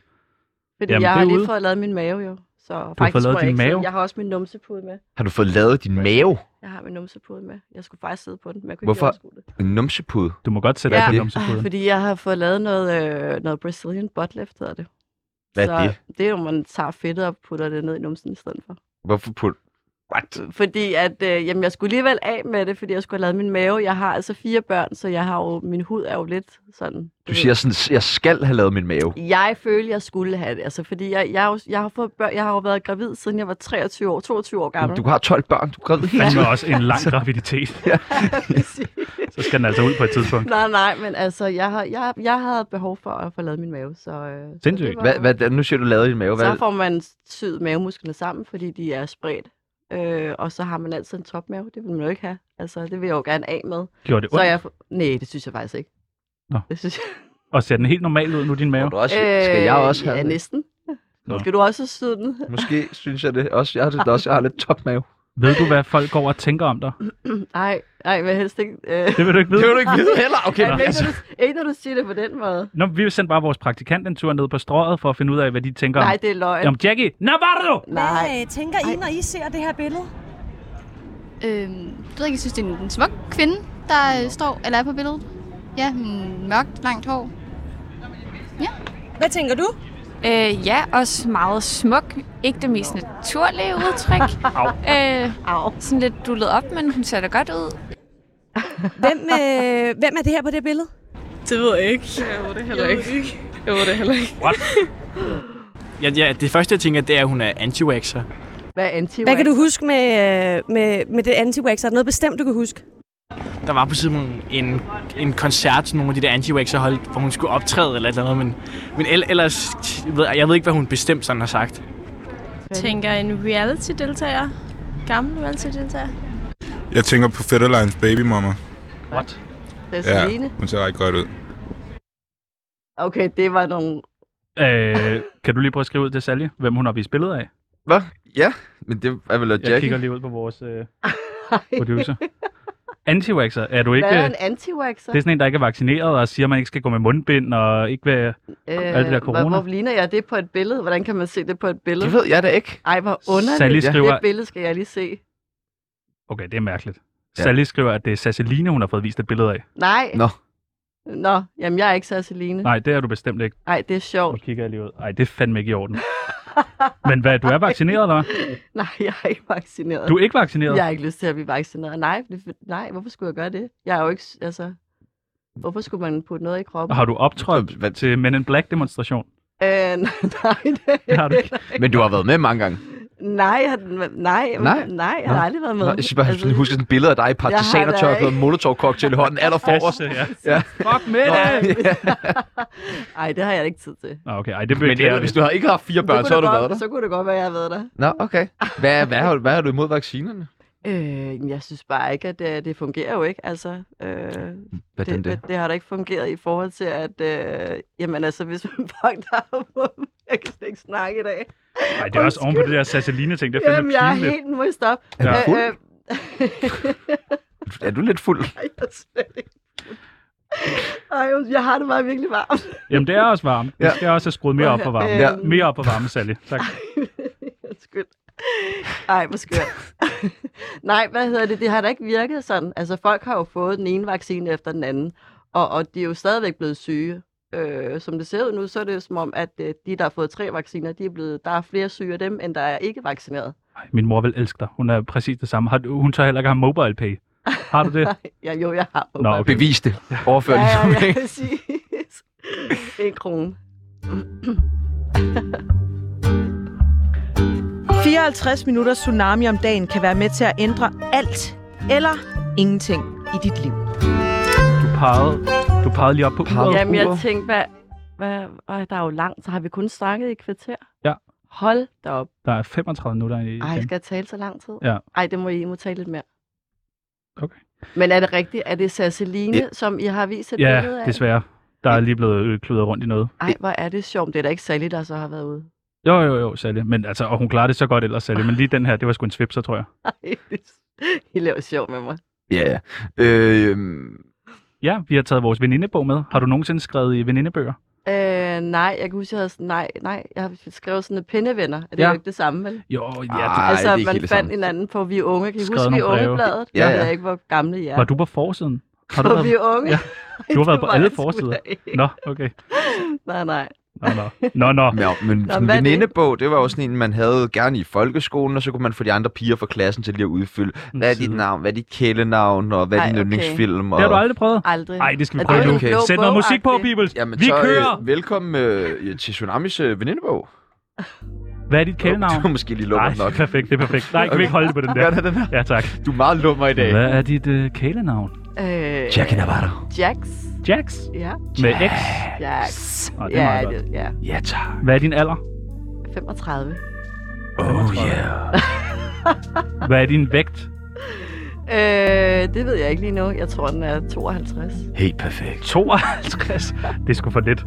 Speaker 1: Fordi Jamen,
Speaker 5: Jamen,
Speaker 1: jeg
Speaker 5: det
Speaker 1: har
Speaker 5: er
Speaker 1: lige
Speaker 5: ude.
Speaker 1: fået lavet min mave jo. Så du
Speaker 5: fået lavet din mave?
Speaker 1: Jeg har også min numsepude med.
Speaker 2: Har du fået lavet din mave?
Speaker 1: Jeg har min numsepude med. Jeg skulle faktisk sidde på den, men jeg kunne
Speaker 2: Hvorfor?
Speaker 1: ikke overskue det.
Speaker 2: En numsepude?
Speaker 5: Du må godt sætte
Speaker 1: Ja.
Speaker 5: dig på
Speaker 2: Det-
Speaker 1: Ah,
Speaker 5: numsekoden.
Speaker 1: Fordi jeg har fået lavet noget, øh, noget Brazilian butt lift, hedder det.
Speaker 2: Hvad
Speaker 1: så
Speaker 2: er det?
Speaker 1: det er jo, man tager fedtet og putter det ned i numsen i stedet for.
Speaker 2: Hvorfor put? What?
Speaker 1: Fordi at, øh, jamen, jeg skulle alligevel af med det, fordi jeg skulle have lavet min mave. Jeg har altså fire børn, så jeg har jo, min hud er jo lidt sådan...
Speaker 2: Du
Speaker 1: ved.
Speaker 2: siger sådan, jeg skal have lavet min mave.
Speaker 1: Jeg følte, jeg skulle have det, altså, fordi jeg, jeg, har jo- jeg, har fået børn, jeg har jo været gravid, siden jeg var 23 år, 22 år gammel.
Speaker 2: Du har 12 børn, du er gravid hele
Speaker 5: Han
Speaker 2: tiden.
Speaker 5: var også en lang graviditet.
Speaker 1: Præcis.
Speaker 5: Så skal den altså ud på et tidspunkt.
Speaker 1: Nej, nej, men altså, jeg, har, jeg, jeg havde behov for at få lavet min mave, så... øh, så
Speaker 5: Sindssygt.
Speaker 1: det var-
Speaker 2: Hvad, hvad, nu siger du lavet i din mave. Hvad,
Speaker 1: Så får man syet mavemusklerne sammen, fordi de er spredt. Øh, og så har man altid en topmave. Det vil man jo ikke have. Altså, det vil jeg jo gerne af med.
Speaker 5: Gjorde det
Speaker 1: Så
Speaker 5: ondt?
Speaker 1: jeg... Nej, det synes jeg faktisk ikke.
Speaker 5: Nå.
Speaker 1: Det synes jeg.
Speaker 5: Og ser den helt normal ud nu, din mave?
Speaker 2: Må du også, skal jeg også have
Speaker 1: Øh, ja,
Speaker 2: det?
Speaker 1: næsten.
Speaker 5: Nå.
Speaker 1: Skal du også syde den?
Speaker 2: Måske synes jeg det også. Jeg har, det også, jeg har lidt topmave.
Speaker 5: Ved du, hvad folk går og tænker om dig?
Speaker 1: Nej, nej, men helst ikke. Øh,
Speaker 5: Det vil du ikke vide.
Speaker 2: Det vil du ikke vide heller. Okay,
Speaker 1: ja, men
Speaker 2: nå.
Speaker 1: ikke, når du, ikke når du siger det på den måde.
Speaker 5: Nå, vi sendte bare vores praktikant en tur ned på strøget for at finde ud af, hvad de tænker
Speaker 1: Nej,
Speaker 5: om.
Speaker 1: det er løgn.
Speaker 5: Jamen, Jackie Navarro!
Speaker 1: Nej.
Speaker 8: Hvad øh, tænker I,
Speaker 1: Ej.
Speaker 8: når I ser det her billede?
Speaker 9: Øhm, det ved jeg ikke, jeg synes, det er en, en smuk kvinde, der øh, står, eller er på billedet. Ja, mm, mørkt, langt hår.
Speaker 8: Hvad tænker du?
Speaker 10: Øh, ja, også meget smuk. Ikke det mest naturlige udtryk. øh,
Speaker 1: Au.
Speaker 10: sådan lidt dullet op, men hun ser da godt ud.
Speaker 8: Hvem, øh, hvem er det her på det billede?
Speaker 4: Det ved jeg ikke. Jeg ved det heller ikke. Jeg ved det heller ikke.
Speaker 11: Ja, ja, det første, jeg tænker, det er, at hun er anti-waxer.
Speaker 1: Hvad er anti
Speaker 8: Hvad kan du huske med, øh, med, med det anti-wax? Er der noget bestemt, du kan huske?
Speaker 11: Der var på siden en, en koncert, som nogle af de der anti-waxer holdt, hvor hun skulle optræde eller et eller andet, men, men el- ellers, ved, jeg- jeg ved ikke, hvad hun bestemt sådan har sagt.
Speaker 10: Tænker en reality-deltager. Gammel reality-deltager.
Speaker 7: Jeg tænker på Fetterlines Baby Mama.
Speaker 5: What?
Speaker 1: Det er Celine.
Speaker 7: hun ser ret godt ud.
Speaker 1: Okay, det var nogle...
Speaker 5: Øh, kan du lige prøve at skrive ud til Salje, hvem hun har vist billeder af?
Speaker 2: Hvad? Ja, men det er vel at
Speaker 5: Jeg kigger
Speaker 2: Jackie.
Speaker 5: lige ud på vores øh, producer. Antivaxer, er du ikke...
Speaker 1: Hvad er
Speaker 5: øh,
Speaker 1: en anti-waxer?
Speaker 5: Det er sådan en, der ikke er vaccineret og siger, at man ikke skal gå med mundbind og ikke være... alt det der
Speaker 1: hvor-
Speaker 5: corona.
Speaker 1: Øh, Hvor ligner jeg det på et billede? Hvordan kan man se det på et billede?
Speaker 2: Det ved jeg da ikke.
Speaker 1: Ej, hvor underligt.
Speaker 5: Sally skriver-
Speaker 1: Det billede skal jeg lige se.
Speaker 5: Okay, det er mærkeligt.
Speaker 2: Ja.
Speaker 5: Ja. Sally skriver, at det er Sasseline, hun har fået vist et billede af.
Speaker 1: Nej.
Speaker 2: Nå.
Speaker 1: Nå, jamen jeg er ikke så Celine.
Speaker 5: Nej, det er du bestemt ikke.
Speaker 1: Nej, det er
Speaker 5: Nu
Speaker 1: sjovt.
Speaker 5: kigger jeg lige ud. Ej, det er fandme ikke i orden. Men hvad, du er vaccineret, eller hvad?
Speaker 1: Nej, jeg er ikke vaccineret.
Speaker 5: Du er ikke vaccineret?
Speaker 1: Jeg har ikke lyst til at blive vaccineret. Nej, det, nej, hvorfor skulle jeg gøre det? Jeg er jo ikke, s- altså... Hvorfor skulle man putte noget i kroppen?
Speaker 5: Har du optrådt
Speaker 2: Hvad-
Speaker 5: til Men in Black-demonstration?
Speaker 1: Øh, nej, det,
Speaker 5: Det har du ikke.
Speaker 2: Men du har været med mange gange.
Speaker 1: nej, jeg- nej,
Speaker 2: Nej?
Speaker 1: nej, nej, jeg har
Speaker 2: Nå.
Speaker 1: aldrig været
Speaker 2: Nå,
Speaker 1: med.
Speaker 2: jeg skal bare altså, huske sådan et billede af dig i partisanertørklæde og
Speaker 1: ikke.
Speaker 2: molotov-cocktail i hånden aller forrest.
Speaker 5: Ja.
Speaker 2: Ja.
Speaker 5: Fuck med det!
Speaker 1: Ej, det har jeg ikke tid til.
Speaker 5: Nå, okay, ej, det
Speaker 2: Men
Speaker 5: beklager
Speaker 2: ellers,
Speaker 5: jeg.
Speaker 2: hvis du har ikke haft fire børn,
Speaker 1: kunne
Speaker 2: så har
Speaker 1: det
Speaker 2: du
Speaker 1: godt,
Speaker 2: været der.
Speaker 1: Så kunne det godt være, jeg har været der.
Speaker 2: Nå, okay. Hvad, hvad, har, hvad har du imod vaccinerne?
Speaker 1: Øh, jamen, jeg synes bare ikke, at det, det fungerer jo ikke. Altså, øh,
Speaker 2: Hvordan det?
Speaker 1: det, det har da ikke fungeret i forhold til, at... Øh, jamen altså, hvis man folk der har våben... Jeg kan slet ikke snakke i dag.
Speaker 5: Ej, det er også oven på det der Sasseline-ting. Det er
Speaker 1: Jamen,
Speaker 5: fandme
Speaker 1: jeg er
Speaker 5: pinligt.
Speaker 1: helt... Nu må I stoppe.
Speaker 2: Er du
Speaker 5: Ja.
Speaker 2: fuld?
Speaker 1: Øh,
Speaker 2: Er du lidt fuld?
Speaker 1: ej, jeg er slet ikke... Ej, undskyld, jeg har det bare virkelig varmt.
Speaker 5: Jamen, det er også varmt. Vi
Speaker 2: Ja.
Speaker 5: skal også have skruet mere op for varmen.
Speaker 2: Ja.
Speaker 5: Ja. Mere op for varmen, Sally. Tak.
Speaker 1: Undskyld. Ej, hvor skørt. Nej, hvad hedder det? Det har da ikke virket sådan. Altså, folk har jo fået den ene vaccine efter den anden, og, og de er jo stadigvæk blevet syge. Øh, som det ser ud nu, så er det jo som om, at øh, de, der har fået tre vacciner, de er blevet, der er flere syge af dem, end der er ikke vaccineret.
Speaker 5: Ej, min mor vil elske dig. Hun er præcis det samme. Har, du- hun tør heller ikke have mobile pay. Har du det?
Speaker 1: Ja, jo, jeg har.
Speaker 5: Nå, okay.
Speaker 2: Bevis det. Overfør
Speaker 1: Ja,
Speaker 2: det.
Speaker 1: ja, ja,
Speaker 2: information.
Speaker 1: præcis. en krone.
Speaker 6: 54 minutters tsunami om dagen kan være med til at ændre alt eller ingenting i dit liv.
Speaker 5: Du pegede, du pegede lige op på
Speaker 2: Pegede.
Speaker 5: uret.
Speaker 2: Ja.
Speaker 1: Jamen, jeg
Speaker 2: uret.
Speaker 1: tænkte, hvad, hvad, øh, der er jo langt, så har vi kun snakket i et kvarter?
Speaker 5: Ja.
Speaker 1: Hold da op.
Speaker 5: Der er 35 minutter i
Speaker 1: Ej,
Speaker 5: den.
Speaker 1: skal jeg tale så lang tid?
Speaker 5: Ja.
Speaker 1: Ej, det må I, I må tale lidt mere.
Speaker 5: Okay.
Speaker 1: Men er det rigtigt? Er det Sasseline,
Speaker 2: Ja.
Speaker 1: ja. som I har vist et billede
Speaker 5: Ja,
Speaker 1: af?
Speaker 5: desværre. Der er lige blevet øh, kludret rundt i noget.
Speaker 1: Ej, hvor er det sjovt. Det er da ikke Sally, der så har været ude.
Speaker 5: Jo, jo, jo, Sally. Men altså, og hun klarer det så godt ellers, Sally. Men lige den her, det var sgu en svipser, tror jeg.
Speaker 1: Ej, det- I laver sjov med mig.
Speaker 2: Ja. Øh,
Speaker 5: Ja, vi har taget vores venindebog med. Har du nogensinde skrevet i venindebøger?
Speaker 1: Øh, nej, jeg kan huske, jeg havde sådan, nej, nej, jeg har skrevet sådan noget pindevenner. Er det
Speaker 5: Ja.
Speaker 1: ja. jo ikke det samme, vel?
Speaker 5: Jo, ja.
Speaker 2: Ah.
Speaker 5: Det...
Speaker 2: Ej, det er
Speaker 1: altså,
Speaker 2: ikke helt
Speaker 1: man
Speaker 2: det
Speaker 1: fandt
Speaker 2: samme.
Speaker 1: hinanden på Vi er Unge. Kan I
Speaker 5: Skrevet
Speaker 1: huske Vi er
Speaker 5: nogle breve.
Speaker 1: Unge-bladet?
Speaker 2: Ja,
Speaker 1: Jeg
Speaker 2: ja.
Speaker 1: ved ikke, hvor gamle I er.
Speaker 5: Var du på forsiden? Har du
Speaker 1: på Vi
Speaker 5: været...
Speaker 1: er Unge?
Speaker 5: Ja. Du har været på
Speaker 1: Det var
Speaker 5: alle
Speaker 1: jeg sgu
Speaker 5: forsider.
Speaker 1: da ikke.
Speaker 5: Nå, okay.
Speaker 1: Nej, nej.
Speaker 5: Nå, nå. Nå, nå.
Speaker 2: Nå, men
Speaker 1: Nå,
Speaker 2: sådan en
Speaker 1: hvad er det?
Speaker 2: venindebog, det var jo sådan en, man havde gerne i folkeskolen, og så kunne man få de andre piger fra klassen til lige at udfylde. Hvad er dit
Speaker 5: side.
Speaker 2: navn? Hvad er dit kælenavn? Og hvad
Speaker 1: Mm.
Speaker 2: er
Speaker 1: Ej,
Speaker 2: din
Speaker 1: okay.
Speaker 2: yndlingsfilm? Og...
Speaker 5: Det har du aldrig prøvet?
Speaker 1: Aldrig.
Speaker 5: Nej, det skal vi
Speaker 1: Er
Speaker 5: prøve
Speaker 2: det
Speaker 5: nu.
Speaker 2: okay?
Speaker 5: Sæt noget musik på, Peoples.
Speaker 2: Jamen,
Speaker 5: Vi
Speaker 2: så,
Speaker 5: kører!
Speaker 2: Øh, velkommen øh, til Tsunamis øh, venindebog.
Speaker 5: Hvad er dit kælenavn?
Speaker 2: Du er måske lige
Speaker 5: Nej,
Speaker 2: lummer nok.
Speaker 5: det er perfekt, det er perfekt. Nej, kan vi ikke holde det på den der?
Speaker 2: Gør det den her?
Speaker 5: Ja, tak.
Speaker 2: Du er meget lummer i dag.
Speaker 5: Hvad er dit øh, kælenavn?
Speaker 1: Øh,
Speaker 2: Jackie Navarro.
Speaker 1: Jax.
Speaker 5: Jax?
Speaker 1: Ja.
Speaker 5: Med X?
Speaker 1: Jax.
Speaker 5: Nå, det er
Speaker 1: ja,
Speaker 5: meget godt.
Speaker 1: det, ja.
Speaker 2: Ja, tak.
Speaker 5: Hvad er din alder?
Speaker 1: 35.
Speaker 2: Oh yeah.
Speaker 5: Hvad er din vægt?
Speaker 1: Øh, det ved jeg ikke lige nu. Jeg tror, den er 52.
Speaker 2: Helt perfekt.
Speaker 5: 52? Det er sgu for lidt.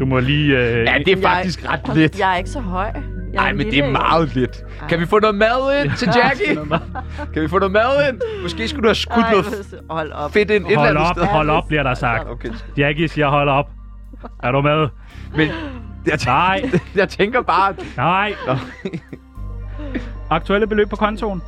Speaker 5: Du må lige... Øh...
Speaker 2: Ja, det er faktisk
Speaker 1: jeg,
Speaker 2: ret lidt.
Speaker 1: Jeg er ikke så høj. Jeg
Speaker 2: Nej,
Speaker 1: en
Speaker 2: men det
Speaker 1: lille
Speaker 2: er
Speaker 1: en.
Speaker 2: meget lidt. Kan vi få noget mad ind til Jackie? Kan vi få noget mad ind? Måske skulle du have skudt
Speaker 1: Ej,
Speaker 2: noget
Speaker 1: hvor så- hold op.
Speaker 2: fedt ind et eller
Speaker 5: Hold
Speaker 2: andet
Speaker 5: op,
Speaker 2: sted.
Speaker 5: hold op, bliver der sagt.
Speaker 2: Okay.
Speaker 5: Jackie siger, hold op. Er du med?
Speaker 2: Men jeg, tæ-
Speaker 5: Nej,
Speaker 2: jeg tænker bare...
Speaker 5: nej.
Speaker 2: Nå.
Speaker 5: Aktuelle beløb på kontoen?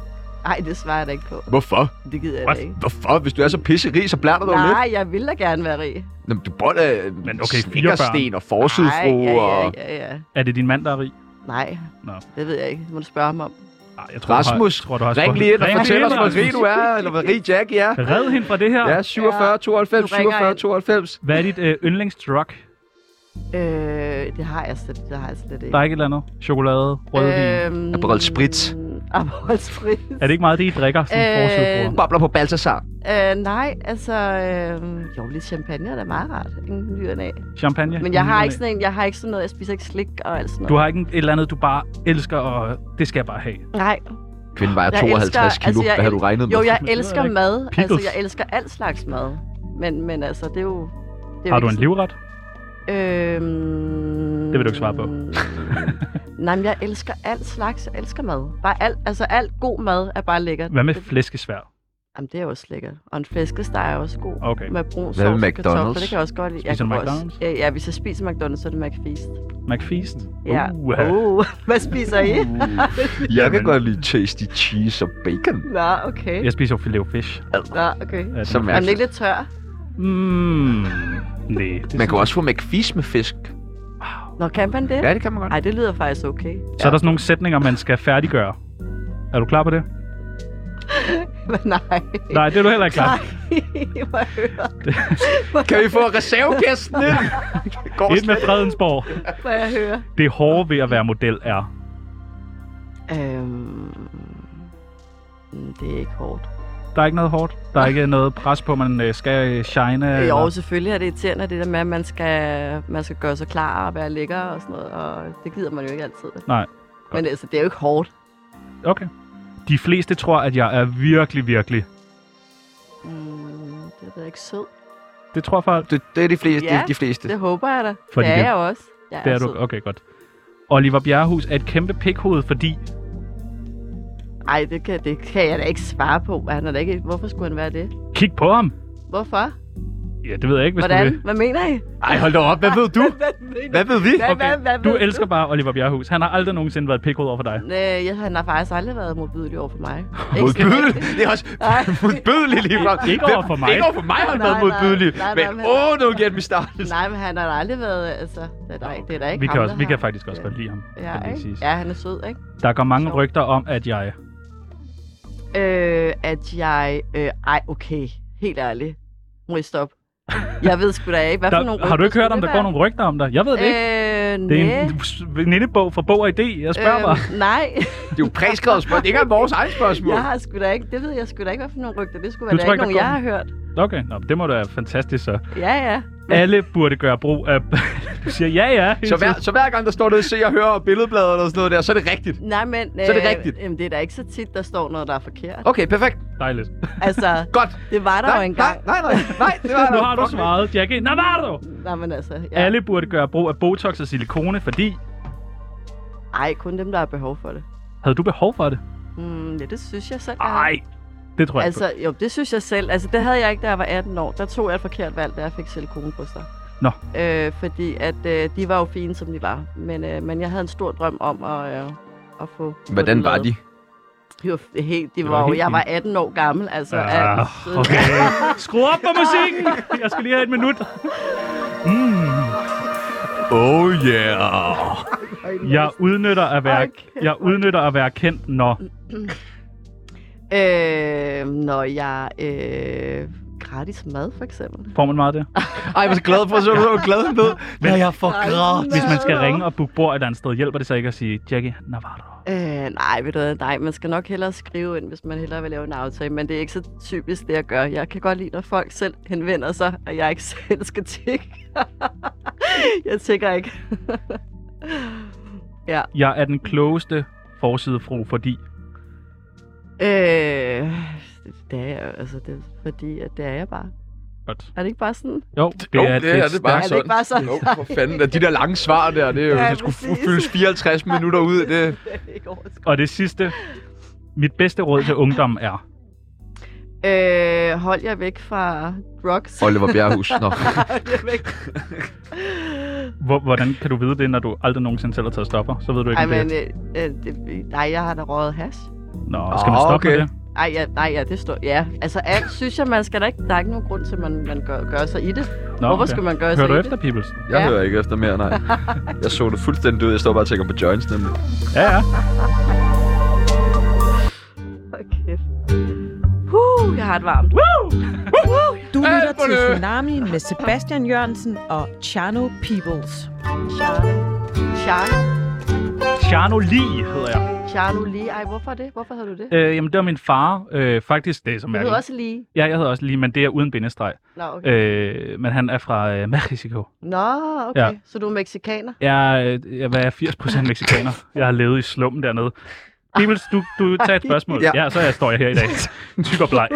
Speaker 1: Ej, det svarer jeg da ikke på.
Speaker 2: Hvorfor?
Speaker 1: Det gider jeg da ikke.
Speaker 2: What? Hvorfor? Hvis du er så pisserig, så blærter du jo lidt.
Speaker 1: Nej, jeg vil da gerne være rig.
Speaker 2: Nå, men du boller af Men
Speaker 5: okay, fire børn.
Speaker 2: og forsidefru
Speaker 1: Nej, ja, ja,
Speaker 2: og...
Speaker 1: ja, ja.
Speaker 5: Er det din mand, der er rig?
Speaker 1: Nej,
Speaker 5: Nå.
Speaker 1: det ved jeg ikke. Det må du spørge ham om.
Speaker 5: Nej, jeg tror,
Speaker 2: Rasmus,
Speaker 5: du har, tror, du har
Speaker 2: ring
Speaker 5: spurgt-
Speaker 2: lige ind og
Speaker 5: Ring
Speaker 2: fortæl
Speaker 5: ind,
Speaker 2: os, hvor
Speaker 5: Rasmus.
Speaker 2: rig du er, eller hvor rig Jackie er.
Speaker 5: Red hende fra det her.
Speaker 2: Ja, 47, 92,
Speaker 1: Du ringer
Speaker 2: 47,
Speaker 1: ind.
Speaker 2: 92.
Speaker 5: Hvad er dit øh, yndlingsdrug?
Speaker 1: Øh, det har jeg slet, det har jeg slet ikke.
Speaker 5: Der er ikke et eller andet? Chokolade, rødvin? Øh...
Speaker 1: Øhm,
Speaker 2: Aperol Spritz.
Speaker 1: Aperol Spritz.
Speaker 5: Er det ikke meget, det I drikker som øh...
Speaker 1: Øh,
Speaker 5: forsøgsbruger?
Speaker 2: Bobler på Baltasar.
Speaker 1: Øh, nej, altså... Øh, jo, lidt champagne er da meget rart. En ny og næ.
Speaker 5: Champagne?
Speaker 1: Men jeg har, ikke sådan en, jeg har ikke sådan noget. Jeg spiser ikke slik og alt sådan noget.
Speaker 5: Du har ikke en- et eller andet, du bare elsker, og det skal jeg bare have.
Speaker 1: Nej.
Speaker 2: Kvinden vejer
Speaker 1: Jeg
Speaker 2: 52
Speaker 1: elsker-
Speaker 2: kilo.
Speaker 1: altså, jeg
Speaker 2: Hvad havde du
Speaker 1: el-
Speaker 2: regnet med?
Speaker 1: Jo, jeg
Speaker 5: Det ved jeg
Speaker 1: elsker
Speaker 5: ikke.
Speaker 1: mad. Altså,
Speaker 5: Pickles.
Speaker 1: jeg elsker alt slags mad. Men, men altså, det er jo... Det er
Speaker 5: Har
Speaker 1: jo
Speaker 5: du en
Speaker 1: ikke
Speaker 5: livret?
Speaker 1: sådan- Øhm,
Speaker 5: Det vil du ikke svare på.
Speaker 1: nej, men jeg elsker alt slags. Jeg elsker mad. Bare alt, altså alt god mad er bare lækkert.
Speaker 5: Hvad med
Speaker 1: Det-
Speaker 5: flæskesvær?
Speaker 1: Jamen, det er også lækkert. Og en flæskesteg er også god.
Speaker 5: Okay.
Speaker 1: Med brun sovs
Speaker 2: Hvad med
Speaker 1: og kartofler.
Speaker 2: McDonald's?
Speaker 1: Det kan jeg også godt lide. Jeg
Speaker 5: Spiser du
Speaker 1: kan også-
Speaker 5: McDonald's?
Speaker 1: Ja, ja, hvis jeg spiser McDonald's, så er det McFeast.
Speaker 5: McFeast?
Speaker 1: Ja.
Speaker 5: Uh,
Speaker 1: Oh, hvad spiser I?
Speaker 2: Jeg kan
Speaker 5: Jamen.
Speaker 2: godt lide tasty cheese og bacon.
Speaker 1: Nå, okay.
Speaker 5: Jeg spiser jo filet og fish.
Speaker 1: Nå, okay.
Speaker 5: Ja, det
Speaker 1: Er
Speaker 2: Så
Speaker 5: er-
Speaker 1: den
Speaker 2: mærkeligt.
Speaker 1: ikke lidt tør?
Speaker 5: Mm, nej.
Speaker 2: Man kan også få McFeast med fisk.
Speaker 1: Nå, kan man det?
Speaker 2: Ja, det kan man godt.
Speaker 1: Ej, det lyder faktisk okay.
Speaker 5: Så er der sådan nogle sætninger, man skal færdiggøre. Er du klar på det?
Speaker 1: Men nej.
Speaker 5: Nej, det er du heller ikke klar.
Speaker 1: Nej,
Speaker 5: på.
Speaker 1: hvor jeg hører.
Speaker 2: Kan vi få reservekæsten ind? Det Går
Speaker 5: Et med
Speaker 2: slet ikke.
Speaker 5: Fredensborg.
Speaker 1: Hvor jeg hører.
Speaker 5: Det hårde ved at være model er...
Speaker 1: Øhm, det er ikke hårdt.
Speaker 5: Der er ikke noget hårdt. Der er ikke noget pres på, man øh, skal øh, shine.
Speaker 1: Øh,
Speaker 5: eller-
Speaker 1: jo, selvfølgelig er det irriterende, det der med, at man skal, man skal gøre sig klar og være lækker og sådan noget, og det gider man jo ikke altid.
Speaker 5: Nej.
Speaker 1: Men altså, det er jo ikke hårdt.
Speaker 5: Okay. De fleste tror, at jeg er virkelig, virkelig.
Speaker 1: Mm, det er da ikke sød.
Speaker 5: Det tror folk.
Speaker 2: Det, det er de fleste.
Speaker 1: Ja,
Speaker 2: det er de fleste.
Speaker 1: Det håber jeg da.
Speaker 5: Fordi
Speaker 1: det er
Speaker 5: det-
Speaker 1: jeg også. Jeg
Speaker 5: Det er
Speaker 1: sød.
Speaker 5: du. Okay, godt. Oliver Bjerrehus er et kæmpe pikhoved, fordi...
Speaker 1: Ej, det kan, det kan jeg da ikke svare på. Han er da ikke, hvorfor skulle han være det?
Speaker 5: Kig på ham!
Speaker 1: Hvorfor?
Speaker 5: Ja, det ved jeg ikke, hvis du
Speaker 1: Hvordan?
Speaker 5: vil.
Speaker 1: Hvad mener I?
Speaker 2: Ej, hold da op. Hvad ved du?
Speaker 1: Hvad mener
Speaker 2: Hvad ved vi?
Speaker 1: Hvad, hvad, hvad,
Speaker 5: Du
Speaker 1: ved
Speaker 5: elsker bare Oliver Bjerrehus. Han har aldrig nogensinde været et pikhoved over for dig.
Speaker 1: Øh, ja, han har faktisk aldrig været modbydelig over for mig.
Speaker 2: Modbydelig. Det er også
Speaker 1: Nej.
Speaker 2: modbydelig lige frem.
Speaker 5: Ikke over for mig.
Speaker 2: Ikke over for mig har han
Speaker 1: Nej,
Speaker 2: været
Speaker 1: nej,
Speaker 2: modbydelig.
Speaker 1: nej, nej,
Speaker 2: Men
Speaker 1: men-
Speaker 2: åh, don't get me started.
Speaker 1: Nej, men han har da aldrig været, altså, det er da, ikke- det er da ikke
Speaker 5: Vi
Speaker 1: ham,
Speaker 5: kan, også,
Speaker 1: der
Speaker 5: vi
Speaker 1: har-
Speaker 5: kan faktisk også
Speaker 1: Ja.
Speaker 5: godt lide ham. kan
Speaker 1: Ja,
Speaker 5: lige
Speaker 1: ikke?
Speaker 5: siges.
Speaker 1: ja, han er sød, ikke?
Speaker 5: Der går mange
Speaker 1: Sjov.
Speaker 5: rygter om, at jeg...
Speaker 1: Øh, at jeg... Øh, ej, okay. Helt ærligt. Må I stoppe? Jeg ved sgu da ikke, hvad for nogle
Speaker 5: Der, har du ikke hørt, om der går
Speaker 1: nogle
Speaker 5: nogle rygter om dig? Jeg ved det ikke.
Speaker 1: Øh,
Speaker 5: Det
Speaker 1: næ.
Speaker 5: er en s- venindebog fra Bog og Idé. Jeg spørger øh, bare.
Speaker 1: øh, nej,
Speaker 2: Det er jo præskrevet spørgsmål. Det er ikke engang vores eget spørgsmål.
Speaker 1: jeg har sgu da ikke, det ved jeg sgu da ikke, hvad for nogle rygter. Det skulle
Speaker 5: Du
Speaker 1: være da
Speaker 5: tror
Speaker 1: ikke
Speaker 5: ikke,
Speaker 1: nogen,
Speaker 5: der
Speaker 1: jeg har hørt.
Speaker 5: Okay, Nå, det må da være fantastisk så.
Speaker 1: Ja, ja.
Speaker 5: Alle burde gøre brug af... du siger ja, ja. hele
Speaker 2: Så hver,
Speaker 5: tiden.
Speaker 2: så hver gang, der står noget, se og høre og billedbladet eller sådan noget der, så er det rigtigt.
Speaker 1: Nej, men... øh,
Speaker 2: Så er det rigtigt.
Speaker 1: Jamen, det er da ikke så tit, der står noget, der er forkert.
Speaker 2: Okay, perfekt.
Speaker 5: Dejligt.
Speaker 1: Altså,
Speaker 2: Godt.
Speaker 1: det var der jo
Speaker 2: Nej, nej,
Speaker 1: engang.
Speaker 2: nej, nej, nej, det var
Speaker 5: Nu
Speaker 2: der.
Speaker 5: har du
Speaker 2: Okay.
Speaker 5: svaret, Jackie. Navarro!
Speaker 1: Nej, men altså... Ja.
Speaker 5: Ja. Alle burde gøre brug af Botox og silikone, fordi...
Speaker 1: Ej, kun dem, der har behov for det.
Speaker 5: Havde du behov for det?
Speaker 1: Mm, ja, det synes jeg selv. jeg har.
Speaker 5: Nej, det tror jeg altså...
Speaker 1: Altså, jo, det synes jeg selv. Altså, det havde jeg ikke, da jeg var 18 år. Der tog jeg et forkert valg, da jeg fik silikonebryster.
Speaker 5: Nå.
Speaker 1: Øh, fordi at øh, de var jo fine, som de var. Men, øh, men jeg havde en stor drøm om at, øh, at få... få
Speaker 2: Hvordan
Speaker 1: dem
Speaker 2: var
Speaker 1: lavet.
Speaker 2: de?
Speaker 1: De var f- helt... De
Speaker 5: var
Speaker 1: var, var jo,
Speaker 5: helt
Speaker 1: jeg var
Speaker 5: fine.
Speaker 1: 18 år gammel, altså.
Speaker 5: ikke.
Speaker 1: at-
Speaker 5: Ah, okay. Skru op for musikken! Jeg skal lige have et minut.
Speaker 2: Oh yeah.
Speaker 5: Jeg udnytter at være,
Speaker 1: Okay.
Speaker 5: jeg udnytter at være kendt, når...
Speaker 1: Øh, når jeg... Øh, gra- gratis mad, for eksempel.
Speaker 5: Får man meget af det?
Speaker 2: Ej, jeg er så glad for, så er du glad ved.
Speaker 5: Men
Speaker 2: Når jeg får
Speaker 1: Nej,
Speaker 2: gratis.
Speaker 5: hvis man skal ringe og booke bord et eller andet sted, hjælper det så ikke at sige, Jackie Navarro?
Speaker 1: Øh, nej, ved du hvad, nej, man skal nok hellere skrive ind, hvis man hellere vil lave en aftale, men det er ikke så typisk det, jeg gør. Jeg kan godt lide, når folk selv henvender sig, og jeg ikke selv skal tjekke. jeg tænker ikke. ja.
Speaker 5: Jeg er den klogeste forsidefru, fordi...
Speaker 1: Øh, det er jeg, altså, det er fordi, at det er jeg bare.
Speaker 5: Godt.
Speaker 1: Er det ikke bare sådan?
Speaker 5: Jo,
Speaker 2: Jo, det er det, er
Speaker 5: stærkt-
Speaker 2: bare
Speaker 1: Er det
Speaker 2: sådan.
Speaker 1: ikke bare sådan?
Speaker 2: Jo, for fanden. da De der lange svar der, det er jo,
Speaker 1: Ja,
Speaker 2: ja, skulle
Speaker 1: præcis.
Speaker 2: fyldes 54 minutter ud. Det,
Speaker 1: Det er ikke overskud.
Speaker 5: Og det sidste. Mit bedste råd til ungdom er...
Speaker 1: Øh, hold jer væk fra drugs.
Speaker 2: Oliver Bjerrehus. Nå.
Speaker 1: hold jer væk.
Speaker 5: Hvor, hvordan kan du vide det, når du aldrig nogensinde selv har taget stopper? Så ved du ikke,
Speaker 1: Ej,
Speaker 5: om det er-
Speaker 1: men, øh, øh, det, nej, jeg har da røget hash.
Speaker 5: Nå, skal man
Speaker 2: Ah,
Speaker 5: stoppe
Speaker 2: okay.
Speaker 5: med det?
Speaker 1: Ej, ja, nej, ja, det står... Ja, altså alt synes jeg, man skal da ikke... Der er ikke nogen grund til, at man, man gør, gør sig i det.
Speaker 5: Nå,
Speaker 1: Hvorfor skal man gøre
Speaker 5: Hører
Speaker 1: sig
Speaker 5: du
Speaker 1: i
Speaker 5: efter,
Speaker 1: det?
Speaker 5: Peoples?
Speaker 2: Jeg
Speaker 1: Ja.
Speaker 2: hører ikke efter mere, nej. Jeg så det fuldstændig ud. Jeg står bare og tænker på joints, nemlig.
Speaker 5: Ja, ja.
Speaker 1: Okay. Huh, jeg har et varmt.
Speaker 6: Du lytter til
Speaker 2: Alperne!
Speaker 6: Tsunami med Sebastian Jørgensen og Chano Peoples.
Speaker 1: Charlo.
Speaker 5: Tjerno Li hedder jeg.
Speaker 1: Charlo lige. Ej, hvorfor det? Hvorfor havde du det?
Speaker 5: Øh, jamen, det var min far. Øh, faktisk, det er så
Speaker 1: Det
Speaker 5: mærkeligt.
Speaker 1: hedder også lige.
Speaker 5: Ja, jeg hedder også Li, men det er uden bindestreg.
Speaker 1: Nå, okay.
Speaker 5: Øh, men han er fra øh, Mexico.
Speaker 1: Nå, okay.
Speaker 5: ja.
Speaker 1: Så du er meksikaner?
Speaker 5: Jeg, er, øh, jeg hvad er 80% mexikaner. Jeg har levet i slummen dernede. Bibels, du, du tager et spørgsmål. Ja,
Speaker 2: Ja.
Speaker 5: ja så er- står jeg her i dag. Tyk og bleg.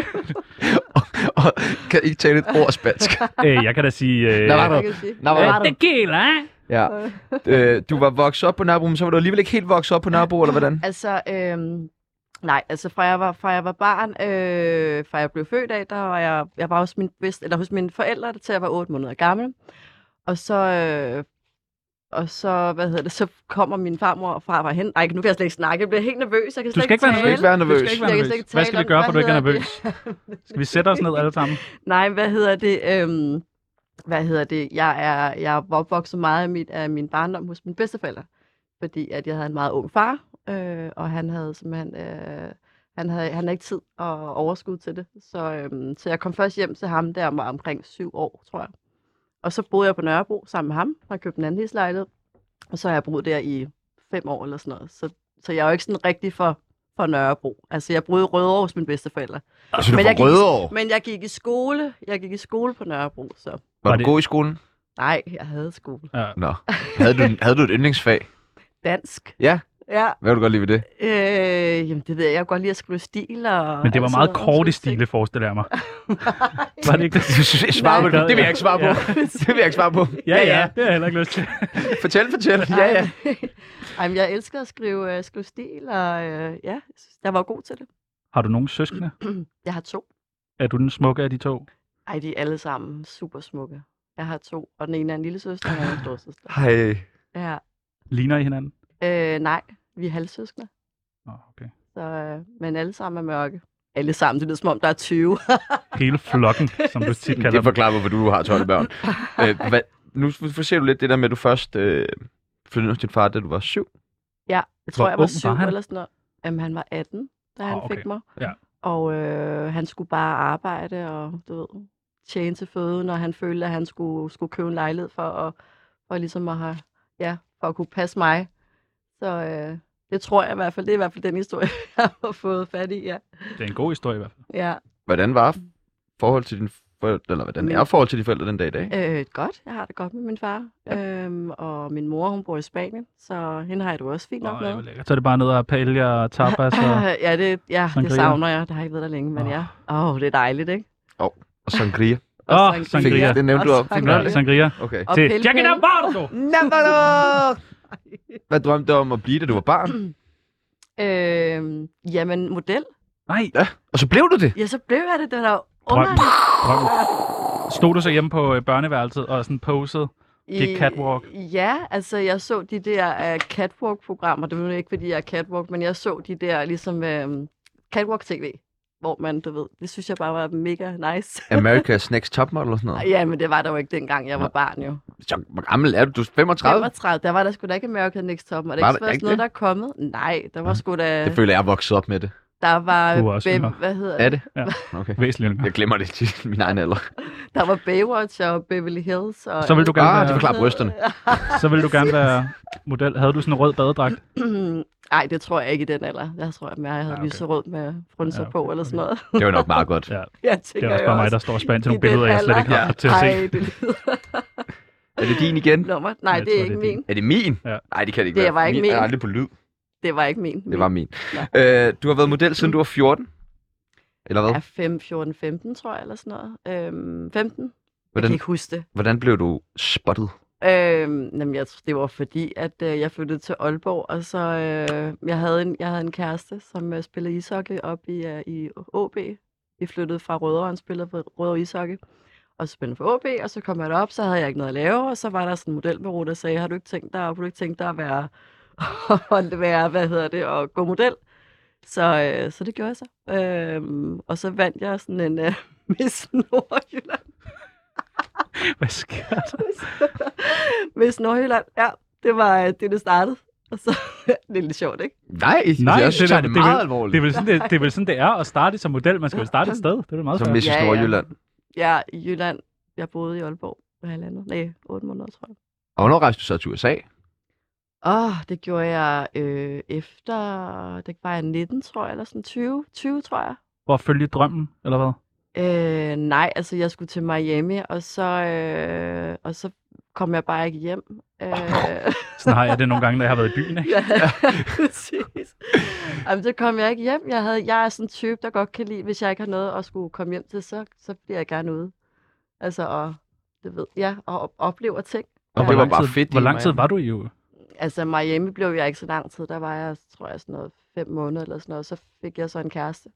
Speaker 2: Og kan ikke tale et ord spansk.
Speaker 5: Øh, jeg kan da sige... Øh,
Speaker 2: Nå, nej,
Speaker 1: Jeg
Speaker 2: nej.
Speaker 1: kan sige.
Speaker 2: Nå,
Speaker 5: øh,
Speaker 2: nej, nej.
Speaker 5: tequila.
Speaker 2: Ja. Øh, du var vokset op på Nørrebro, men så var du alligevel ikke helt vokset op på Nørrebro, eller hvordan?
Speaker 1: Altså, øhm, nej, altså fra jeg var, fra jeg var barn, øh, fra jeg blev født af, der var jeg, jeg var hos, min bedst, eller hos mine forældre, til jeg var 8 måneder gammel. Og så, øh, og så, hvad hedder det, så kommer min farmor fra var hen. Ej, nu kan jeg slet ikke snakke, jeg bliver helt nervøs, jeg kan
Speaker 5: Du
Speaker 1: slet
Speaker 5: skal
Speaker 1: ikke
Speaker 5: ikke være
Speaker 1: tale.
Speaker 2: Du skal
Speaker 5: nervøs.
Speaker 2: ikke være
Speaker 5: Du skal
Speaker 1: Jeg kan
Speaker 2: nervøs.
Speaker 5: ikke være nervøs.
Speaker 1: slet ikke
Speaker 5: Hvad
Speaker 1: tale
Speaker 5: skal vi
Speaker 1: om,
Speaker 5: gøre, for du
Speaker 1: hvad
Speaker 5: ikke er
Speaker 1: hedder
Speaker 5: nervøs? Skal vi sætte os ned alle sammen?
Speaker 1: Nej, hvad hedder det? Øhm, hvad hedder det? Jeg er, jeg er opvokset meget af, mit, af min barndom hos mine bedsteforældre, fordi at jeg havde en meget ung far, øh, og han havde simpelthen... Øh, han havde, han havde ikke tid og overskud til det. Så, øhm, så jeg kom først hjem til ham, der var omkring syv år, tror jeg. Og så boede jeg på Nørrebro sammen med ham, og købte en anden lejlighed. Og så har jeg boet der i fem år eller sådan noget. Så, så jeg er jo ikke sådan rigtig for, for Nørrebro. Altså, jeg boede i Rødovre hos mine bedsteforældre.
Speaker 2: Altså,
Speaker 1: Men jeg gik-
Speaker 2: Rødovre.
Speaker 1: Men jeg gik i skole. Jeg gik i skole på Nørrebro, så
Speaker 2: Var
Speaker 5: Var
Speaker 2: du
Speaker 5: det-
Speaker 2: god i skolen?
Speaker 1: nej, jeg havde skole.
Speaker 2: Nå. Havde du, havde du et yndlingsfag?
Speaker 1: Dansk.
Speaker 2: Ja.
Speaker 1: Ja,
Speaker 2: Hvad vil du godt lide ved det?
Speaker 1: øh, jamen det ved jeg. Jeg kan godt lide at skrive stil og...
Speaker 5: Men det var
Speaker 1: alt
Speaker 5: meget
Speaker 1: sådan
Speaker 5: kort i
Speaker 1: nogle ting.
Speaker 5: stile, forestiller jeg mig. Var det ikke det?
Speaker 2: Jeg svarer på det. Det vil jeg ikke svare på.
Speaker 5: Ja.
Speaker 2: Det vil jeg ikke svare på.
Speaker 5: Ja, ja, det har jeg heller ikke lyst til.
Speaker 2: Fortæl, fortæl. Ja, ja.
Speaker 1: Ej, men jeg elsker at skrive, øh, skrive stil, og øh, ja, jeg synes, jeg var god til det.
Speaker 5: Har du nogen søskende?
Speaker 1: Jeg har to.
Speaker 5: Er du den smukke af de to?
Speaker 1: Ej, de er alle sammen super smukke. Jeg har to, og den ene er en lille søster, og den anden er en storsøster.
Speaker 2: Hej.
Speaker 1: Ja.
Speaker 5: Ligner I hinanden?
Speaker 1: Øh, nej, vi er halvsøskende,
Speaker 5: Nå, okay.
Speaker 1: så, øh, men alle sammen er mørke. Alle sammen, det lyder som om, der er 20.
Speaker 5: Hele flokken, som du tit kalder
Speaker 2: Det
Speaker 5: dem.
Speaker 2: forklarer, hvorfor du har 12 børn. Øh, hvad, nu forser du lidt det der med, at du først øh, flyttede hos din far, da du var syv.
Speaker 1: Ja, jeg tror,
Speaker 5: Hvor
Speaker 1: jeg var
Speaker 5: ung
Speaker 1: syv
Speaker 5: var han?
Speaker 1: eller sådan noget. Jamen, han var 18, da han
Speaker 5: Ah,
Speaker 1: okay.
Speaker 5: okay.
Speaker 1: fik mig.
Speaker 5: Ja.
Speaker 1: Og øh, han skulle bare arbejde og, du ved, tjene til føden, og han følte, at han skulle, skulle købe en lejlighed for, at, for ligesom at have, ja, for at kunne passe mig. Så øh, det tror jeg i hvert fald, det er i hvert fald den historie, jeg har fået fat i, ja.
Speaker 5: Det er en god historie i hvert fald.
Speaker 1: ja.
Speaker 2: Hvordan var forhold til din forældre, eller
Speaker 1: Mm.
Speaker 2: hvordan er forhold til dine forældre den dag i dag?
Speaker 1: Øh, godt, jeg har det godt med min far. Øhm, og min mor, hun bor i Spanien, så hende har jeg det også fint nok
Speaker 5: Nå,
Speaker 1: med.
Speaker 5: det var lækkert. Så er det bare ned og palje og tapas og...
Speaker 1: Ah, ja, det, ja, det
Speaker 5: Sangria.
Speaker 1: savner jeg. Det har jeg ikke været der længe, men
Speaker 5: Åh.
Speaker 1: ja. Åh, oh, det er dejligt, ikke?
Speaker 2: Og sangria.
Speaker 1: Og
Speaker 5: Åh,
Speaker 1: sangria.
Speaker 5: sangria.
Speaker 2: Det nævnte du op.
Speaker 1: Og sangria.
Speaker 5: Ja, sangria.
Speaker 2: Okay.
Speaker 1: Og
Speaker 5: Til
Speaker 1: pille-
Speaker 5: Jackie
Speaker 1: pille.
Speaker 5: Navarro!
Speaker 2: Hvad drømte du om at blive, da du var barn?
Speaker 1: Øhm, jamen, model.
Speaker 5: Nej,
Speaker 2: Og så blev du det.
Speaker 1: Ja, så blev jeg det. Det var da
Speaker 5: drøm.
Speaker 1: underligt.
Speaker 5: drøm. Stod du så hjemme på øh, børneværelset og sådan posede? Gik
Speaker 1: I-
Speaker 5: catwalk?
Speaker 1: Ja, altså jeg så de der uh, catwalk-programmer. Det var nu ikke, fordi jeg er catwalk, men jeg så de der ligesom uh, catwalk-tv, hvor man, du ved, det synes jeg bare var mega nice.
Speaker 2: America's Next Topmodel og sådan noget.
Speaker 1: ja, men det var der jo ikke dengang, jeg var
Speaker 2: Nå.
Speaker 1: barn jo.
Speaker 2: Så, hvor gammel er du? Du er 35?
Speaker 1: 35, der var der sgu da ikke American Next Top, og det
Speaker 2: Var
Speaker 1: er ikke
Speaker 2: der
Speaker 1: først
Speaker 2: ikke
Speaker 1: noget,
Speaker 2: det?
Speaker 1: der er kommet. Nej, der var sgu da...
Speaker 2: Det føler jeg, jeg er vokset op med det.
Speaker 1: Der var,
Speaker 2: Du er også
Speaker 1: Babe-
Speaker 2: yngre.
Speaker 1: hvad hedder
Speaker 2: Er det?
Speaker 5: Ja.
Speaker 2: Okay.
Speaker 5: Væsentligt
Speaker 2: Jeg glemmer det til min egen alder.
Speaker 1: Der var Baywatch og Beverly Hills. Og
Speaker 5: Så vil du gerne
Speaker 2: Ah,
Speaker 5: være...
Speaker 2: det forklarer brysterne.
Speaker 5: så vil du gerne være model. Havde du sådan en rød badedragt?
Speaker 1: Nej, det tror jeg ikke i den alder. Jeg tror, at jeg havde ja, okay. lyserød med frunser ja, okay. på eller sådan noget.
Speaker 2: Det var nok meget godt.
Speaker 5: Ja.
Speaker 1: Jeg
Speaker 5: Det
Speaker 1: tænker
Speaker 5: er også
Speaker 1: jeg
Speaker 5: bare mig, der står og spander til
Speaker 1: i
Speaker 5: nogle billeder,
Speaker 1: den
Speaker 5: jeg slet
Speaker 1: alder.
Speaker 5: ikke har
Speaker 1: Ja.
Speaker 5: til at se.
Speaker 1: Ej, det lyder...
Speaker 2: Er det din igen?
Speaker 1: Nummer? Nej,
Speaker 2: Jeg
Speaker 1: det er
Speaker 2: tror,
Speaker 1: ikke
Speaker 2: det er din.
Speaker 1: min.
Speaker 2: Er det min?
Speaker 5: Ja.
Speaker 2: Nej, det kan det ikke
Speaker 1: Det
Speaker 2: være.
Speaker 1: var ikke
Speaker 2: min. er
Speaker 1: min.
Speaker 2: aldrig på lyd.
Speaker 1: Det var ikke min.
Speaker 2: Det var min. Øh, du har været model, siden du var 14? Eller hvad?
Speaker 1: Ja, 5, 14, 15, tror jeg, eller sådan noget. Øhm, 15? Jeg
Speaker 2: Hvordan-
Speaker 1: kan ikke huske det.
Speaker 2: Hvordan blev du spottet?
Speaker 1: Øhm, jamen, jeg, det var fordi, at øh, jeg flyttede til Aalborg, og så øh, jeg havde en, jeg havde en kæreste, som øh, spillede ishockey op i, øh, i OB. Vi flyttede fra Rødovre, han spillede for Rødovre Ishockey, og så spillede for OB, og så kom jeg derop, så havde jeg ikke noget at lave, og så var der sådan en modelbureau, der sagde, har du ikke tænkt dig, har du ikke tænkt dig at være, at være hvad hedder det, og gå model? Så, øh, så det gjorde jeg så. Øhm, og så vandt jeg sådan en øh, Miss Nordjylland.
Speaker 5: Hvad sker der?
Speaker 1: Miss Nordjylland, ja, det var øh, det, det startede. Og så, det er lidt sjovt, ikke?
Speaker 2: Nej,
Speaker 5: Nej,
Speaker 2: jeg synes, det,
Speaker 5: er
Speaker 2: er
Speaker 5: vel-
Speaker 2: det meget
Speaker 5: vel-
Speaker 2: alvorligt.
Speaker 5: Det er, vel sådan, det, det er vel sådan, det er at starte som model. Man skal jo starte et sted. Det er vel meget
Speaker 2: Som
Speaker 5: fair.
Speaker 2: Mrs.
Speaker 1: Ja, ja.
Speaker 2: Nordjylland.
Speaker 1: Ja, i Jylland. Jeg boede i Aalborg på halvandet. Nej, otte måneder, tror jeg.
Speaker 2: Og hvornår rejste du så til USA?
Speaker 1: Åh, oh, det gjorde jeg øh, efter, det var jeg 19, tror jeg, eller sådan 20, 20 tror jeg.
Speaker 5: For at følge drømmen, eller hvad?
Speaker 1: Øh, nej, altså jeg skulle til Miami, og så, øh, og så kom jeg bare ikke hjem. Øh,
Speaker 5: Sådan har jeg det nogle gange, når jeg har været i byen. Ikke?
Speaker 1: ja, præcis. Jamen, så kom jeg ikke hjem. Jeg, havde, jeg er sådan en type, der godt kan lide, hvis jeg ikke har noget at skulle komme hjem til, så, så bliver jeg gerne ude. Altså, og, det ved, ja, og op- oplever ting.
Speaker 2: Og
Speaker 5: hvor
Speaker 2: det var
Speaker 5: lang
Speaker 2: bare
Speaker 5: tid-
Speaker 2: fedt.
Speaker 5: Hvor
Speaker 2: i
Speaker 5: lang tid
Speaker 2: Miami.
Speaker 5: var du i jo?
Speaker 1: Altså, Miami blev jeg ikke så lang tid. Der var jeg, tror jeg, sådan noget fem måneder eller sådan noget. Så fik jeg så en kæreste,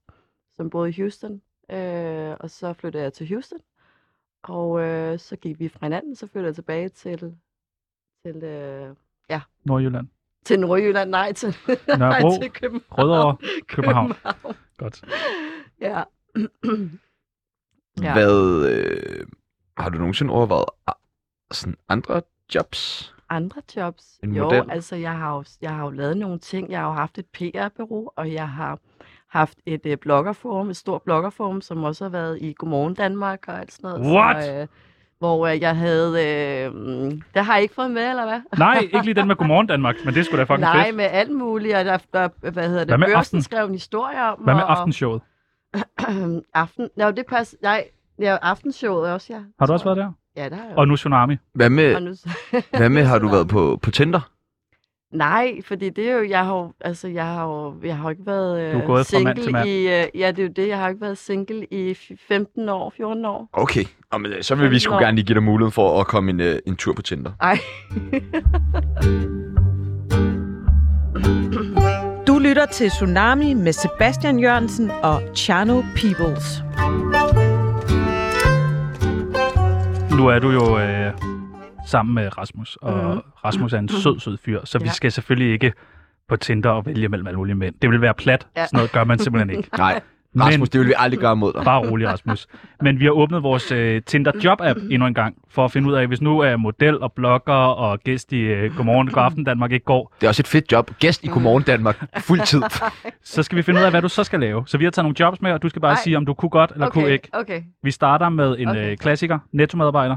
Speaker 1: som boede i Houston. Øh, og så flyttede jeg til Houston. Og øh, så gik vi fra hinanden, så flyttede jeg tilbage til, til, øh,
Speaker 5: Nordjylland.
Speaker 1: til Nordjylland. Nej, til, nej,
Speaker 5: Nørrebro,
Speaker 1: til København.
Speaker 5: Rødovre, København.
Speaker 1: København.
Speaker 5: Godt.
Speaker 1: Ja. Ja.
Speaker 2: Hvad, øh, har du nogensinde overvejet ah, sådan andre jobs?
Speaker 1: Andre jobs?
Speaker 2: En
Speaker 1: jo,
Speaker 2: model?
Speaker 1: altså jeg har, jo, jeg har jo lavet nogle ting. Jeg har jo haft et PR-bureau, og jeg har haft et øh, bloggerforum, et stort bloggerforum, som også har været i Godmorgen Danmark og alt sådan noget. Så,
Speaker 5: What?
Speaker 1: øh, hvor øh, jeg havde... Øh, mm, det har jeg ikke fået med, eller hvad?
Speaker 5: Nej, ikke lige den med Godmorgen Danmark, men det skulle da fucking
Speaker 1: Nej,
Speaker 5: fedt.
Speaker 1: med alt muligt, og der, der hvad hedder det,
Speaker 5: Hvad med
Speaker 1: Børsen
Speaker 5: aften?
Speaker 1: skrev en historie om.
Speaker 5: Hvad med
Speaker 1: og,
Speaker 5: aftenshowet?
Speaker 1: aften? Nå, det passer. Nej, ja, aftenshowet også, ja.
Speaker 5: Har du også været der?
Speaker 1: Ja, der har jeg
Speaker 5: Og nu Tsunami.
Speaker 2: Hvad
Speaker 1: Og
Speaker 2: med,
Speaker 1: nu,
Speaker 2: hvad med har du været på, på Tinder?
Speaker 1: Nej, fordi det er jo, jeg har jo, altså, jeg har jo, jeg har jo ikke været øh,
Speaker 5: Du er gået fra
Speaker 1: single
Speaker 5: mand til mand.
Speaker 1: i, øh, ja, det er jo det, jeg har jo ikke været single i f- 15 år, 14 år.
Speaker 2: Okay, Nå, men, øh, så vil vi sgu
Speaker 1: Nå.
Speaker 2: gerne lige give dig muligheden for at komme en, øh, en tur på Tinder.
Speaker 1: Ej,
Speaker 6: Du lytter til Tsunami med Sebastian Jørgensen og Chano Peoples.
Speaker 5: Nu er du jo øh, sammen med Rasmus, og
Speaker 1: Mhm.
Speaker 5: Rasmus er en sød, sød fyr, så vi
Speaker 1: Ja.
Speaker 5: skal selvfølgelig ikke på Tinder og vælge mellem alle mulige mænd. Det vil være plat.
Speaker 1: Ja.
Speaker 5: Sådan noget gør man simpelthen ikke.
Speaker 2: Nej, Rasmus, det vil vi aldrig gøre mod dig.
Speaker 5: Bare rolig, Rasmus. Men vi har åbnet vores øh, Tinder Job-app
Speaker 1: Mm-hmm.
Speaker 5: endnu en gang, for at finde ud af, hvis nu er model og blogger og gæst i øh, Godmorgen og Aften Danmark ikke går,
Speaker 2: Det er også et fedt job.
Speaker 1: Mm.
Speaker 2: Gæst i Godmorgen Danmark. Fuld tid.
Speaker 5: så skal vi finde ud af, hvad du så skal lave. Så vi har taget nogle jobs med, og du skal bare
Speaker 1: Ej.
Speaker 5: sige, om du kunne godt eller
Speaker 1: okay,
Speaker 5: kunne ikke.
Speaker 1: okay,
Speaker 5: Vi starter med en
Speaker 1: Okay.
Speaker 5: øh, klassiker, Netto-medarbejder.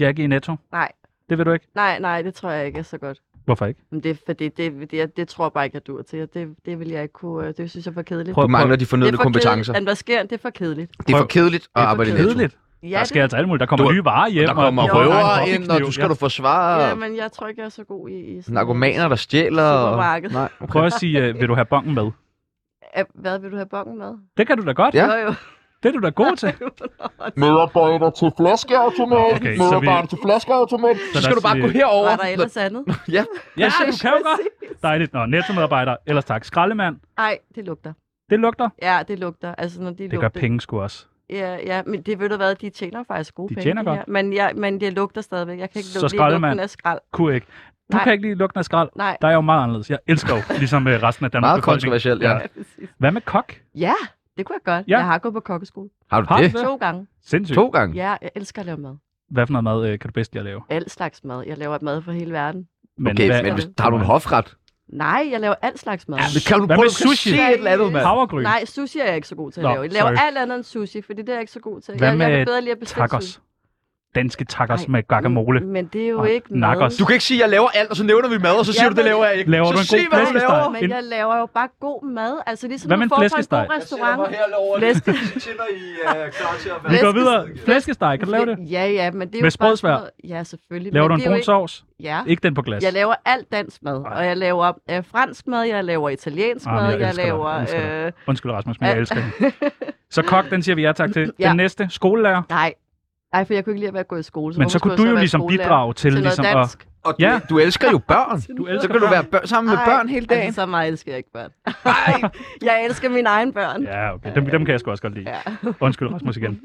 Speaker 5: Jackie i Netto.
Speaker 1: nej,
Speaker 5: Det vil du ikke.
Speaker 1: nej, nej, det tror jeg ikke er så godt.
Speaker 5: Hvorfor ikke?
Speaker 1: Men det, er fordi det, det, jeg, det tror jeg bare ikke, jeg duer til, og det, det vil jeg ikke kunne, øh, det synes jeg er for kedeligt.
Speaker 5: Prøv-
Speaker 2: Du mangler de
Speaker 1: det er
Speaker 2: fornødne
Speaker 1: for
Speaker 2: kompetencer.
Speaker 1: Kedeligt. Anvasker, det er for kedeligt.
Speaker 2: Det er for
Speaker 5: Prøv.
Speaker 2: kedeligt at arbejde i Netto.
Speaker 5: Kedeligt.
Speaker 1: Ja,
Speaker 5: Ja, der
Speaker 1: det,
Speaker 5: sker altså alt muligt. Der kommer
Speaker 2: Du-
Speaker 5: nye varer hjem.
Speaker 2: Der kommer
Speaker 5: og
Speaker 1: Jo.
Speaker 2: røvere ind, og du skal
Speaker 5: Ja.
Speaker 2: du forsvare
Speaker 1: ja, men jeg tror ikke, jeg er så god i, i sådan øh,
Speaker 2: narkomaner, der stjæler. Og...
Speaker 1: Supermarked.
Speaker 2: Nej.
Speaker 5: Prøv at sige, øh, vil du have bongen med?
Speaker 1: Øh, Hvad vil du have bongen med?
Speaker 5: Det kan du da godt.
Speaker 2: Ja.
Speaker 1: Jo, jo.
Speaker 5: Det er du da god til.
Speaker 2: Medarbejder til flaskeautomat.
Speaker 5: Okay, så vi- Medarbejder
Speaker 2: til flaskeautomat. Så,
Speaker 5: der
Speaker 2: skal du bare
Speaker 5: siger-
Speaker 2: gå
Speaker 1: Var der
Speaker 2: herover.
Speaker 1: ellers andet?
Speaker 2: Ja,
Speaker 5: Ja, du
Speaker 1: Præcis,
Speaker 5: kan jo godt.
Speaker 1: præcis.
Speaker 5: Dejligt. Nå, nettomedarbejder. Ellers tak. Skraldemand.
Speaker 1: Ej, det lugter.
Speaker 5: Det lugter.
Speaker 1: Ja, det lugter. Altså, når de
Speaker 5: Det gør
Speaker 1: lugter.
Speaker 5: penge sgu også.
Speaker 1: Ja, ja, men det ved du hvad, de tjener faktisk gode
Speaker 5: De
Speaker 1: penge.
Speaker 5: tjener
Speaker 1: her.
Speaker 5: godt.
Speaker 1: Men, jeg, men det lugter stadigvæk. Jeg kan ikke
Speaker 5: Så
Speaker 1: lugte lige
Speaker 5: skraldemand.
Speaker 1: lugten af skrald.
Speaker 5: Kunne ikke. Du
Speaker 1: Nej.
Speaker 5: kan ikke lide lugten af skrald.
Speaker 1: Nej.
Speaker 5: Der er jeg jo meget anderledes. Jeg elsker jo, ligesom øh, resten af Danmarks
Speaker 2: meget
Speaker 5: befolkning.
Speaker 2: kontroversielt, ja.
Speaker 1: Ja, præcis.
Speaker 5: Hvad med kok?
Speaker 1: Ja, det kunne jeg godt.
Speaker 5: Ja.
Speaker 1: Ja. Jeg har gået på kokkeskole.
Speaker 2: Har du
Speaker 5: Har du
Speaker 2: det?
Speaker 5: det?
Speaker 1: To gange.
Speaker 5: Sindssygt.
Speaker 2: To gange?
Speaker 1: Ja, jeg elsker at lave mad.
Speaker 5: Hvad for noget mad øh, kan du bedst lide at lave?
Speaker 1: Al slags mad. Jeg laver mad for hele verden.
Speaker 2: Okay, men hvis, har du en hofret?
Speaker 1: Nej, jeg laver alt slags mad.
Speaker 2: Ja, men kan du Hvad prøve med at sushi? se et eller andet, mand? Havregryn?
Speaker 1: Nej, sushi er jeg ikke så god til at
Speaker 5: Nå,
Speaker 1: lave. Jeg laver
Speaker 5: sorry.
Speaker 1: alt andet end sushi, fordi det er jeg ikke så god til.
Speaker 5: Hvad
Speaker 1: jeg, jeg kan bedre lide at
Speaker 5: med
Speaker 1: bestille sushi. Mm,
Speaker 5: tacos? Danske tacos med guacamole.
Speaker 1: Men det er jo
Speaker 5: Og
Speaker 1: ikke
Speaker 5: Nakkers.
Speaker 1: mad.
Speaker 2: Du kan ikke sige, at jeg laver alt, og så nævner vi mad, og så siger
Speaker 1: Ja,
Speaker 2: du, det
Speaker 1: men-
Speaker 2: laver jeg ikke.
Speaker 5: Laver
Speaker 2: så
Speaker 5: du en
Speaker 2: sig,
Speaker 5: god
Speaker 2: hvad du
Speaker 5: flæskesteg?
Speaker 2: laver.
Speaker 1: Men jeg laver jo bare god mad. Altså ligesom
Speaker 5: Hvad
Speaker 1: Hvad
Speaker 5: med
Speaker 1: du
Speaker 5: en
Speaker 1: får fra
Speaker 5: flæskesteg?
Speaker 1: en god restaurant.
Speaker 2: Tænder i uh, klar til at
Speaker 5: Vi går videre. Flæskesteg, kan du lave det?
Speaker 1: Ja, ja, men det er
Speaker 5: Med
Speaker 1: jo bare
Speaker 5: sprødsvær?
Speaker 1: sådan noget- Ja, selvfølgelig.
Speaker 5: Laver
Speaker 1: men
Speaker 5: du en
Speaker 1: det er jo
Speaker 5: brun
Speaker 1: ikke-
Speaker 5: sovs?
Speaker 1: Ja.
Speaker 5: Ikke den på glas.
Speaker 1: Jeg laver alt dansk mad, og jeg laver øh, fransk mad, jeg laver italiensk
Speaker 5: Ah, men
Speaker 1: mad, jeg,
Speaker 5: elsker dig.
Speaker 1: laver...
Speaker 5: elsker dig.
Speaker 1: øh,
Speaker 5: Undskyld, Rasmus, men jeg
Speaker 1: al-
Speaker 5: elsker det. Så kok, den siger vi ja tak til. Den
Speaker 1: Ja.
Speaker 5: næste, skolelærer.
Speaker 1: Nej. Nej, for jeg kunne ikke lide at være gået i skole.
Speaker 5: Men så
Speaker 1: hvorfor
Speaker 5: kunne
Speaker 1: skulle
Speaker 5: du
Speaker 1: jeg
Speaker 5: jo
Speaker 1: være
Speaker 5: ligesom
Speaker 1: skolelærer?
Speaker 5: bidrage til,
Speaker 1: noget
Speaker 5: ligesom
Speaker 1: dansk?
Speaker 5: at...
Speaker 2: Og
Speaker 5: ja,
Speaker 2: du elsker jo børn.
Speaker 5: Du elsker
Speaker 2: så kan du
Speaker 5: børn.
Speaker 2: være børn, sammen med
Speaker 1: Ej,
Speaker 2: børn hele dagen.
Speaker 1: Altså, så meget elsker jeg ikke børn. jeg elsker mine egne børn.
Speaker 5: Ja, okay. Dem, dem kan jeg sgu også godt lide. Undskyld, Rasmus igen.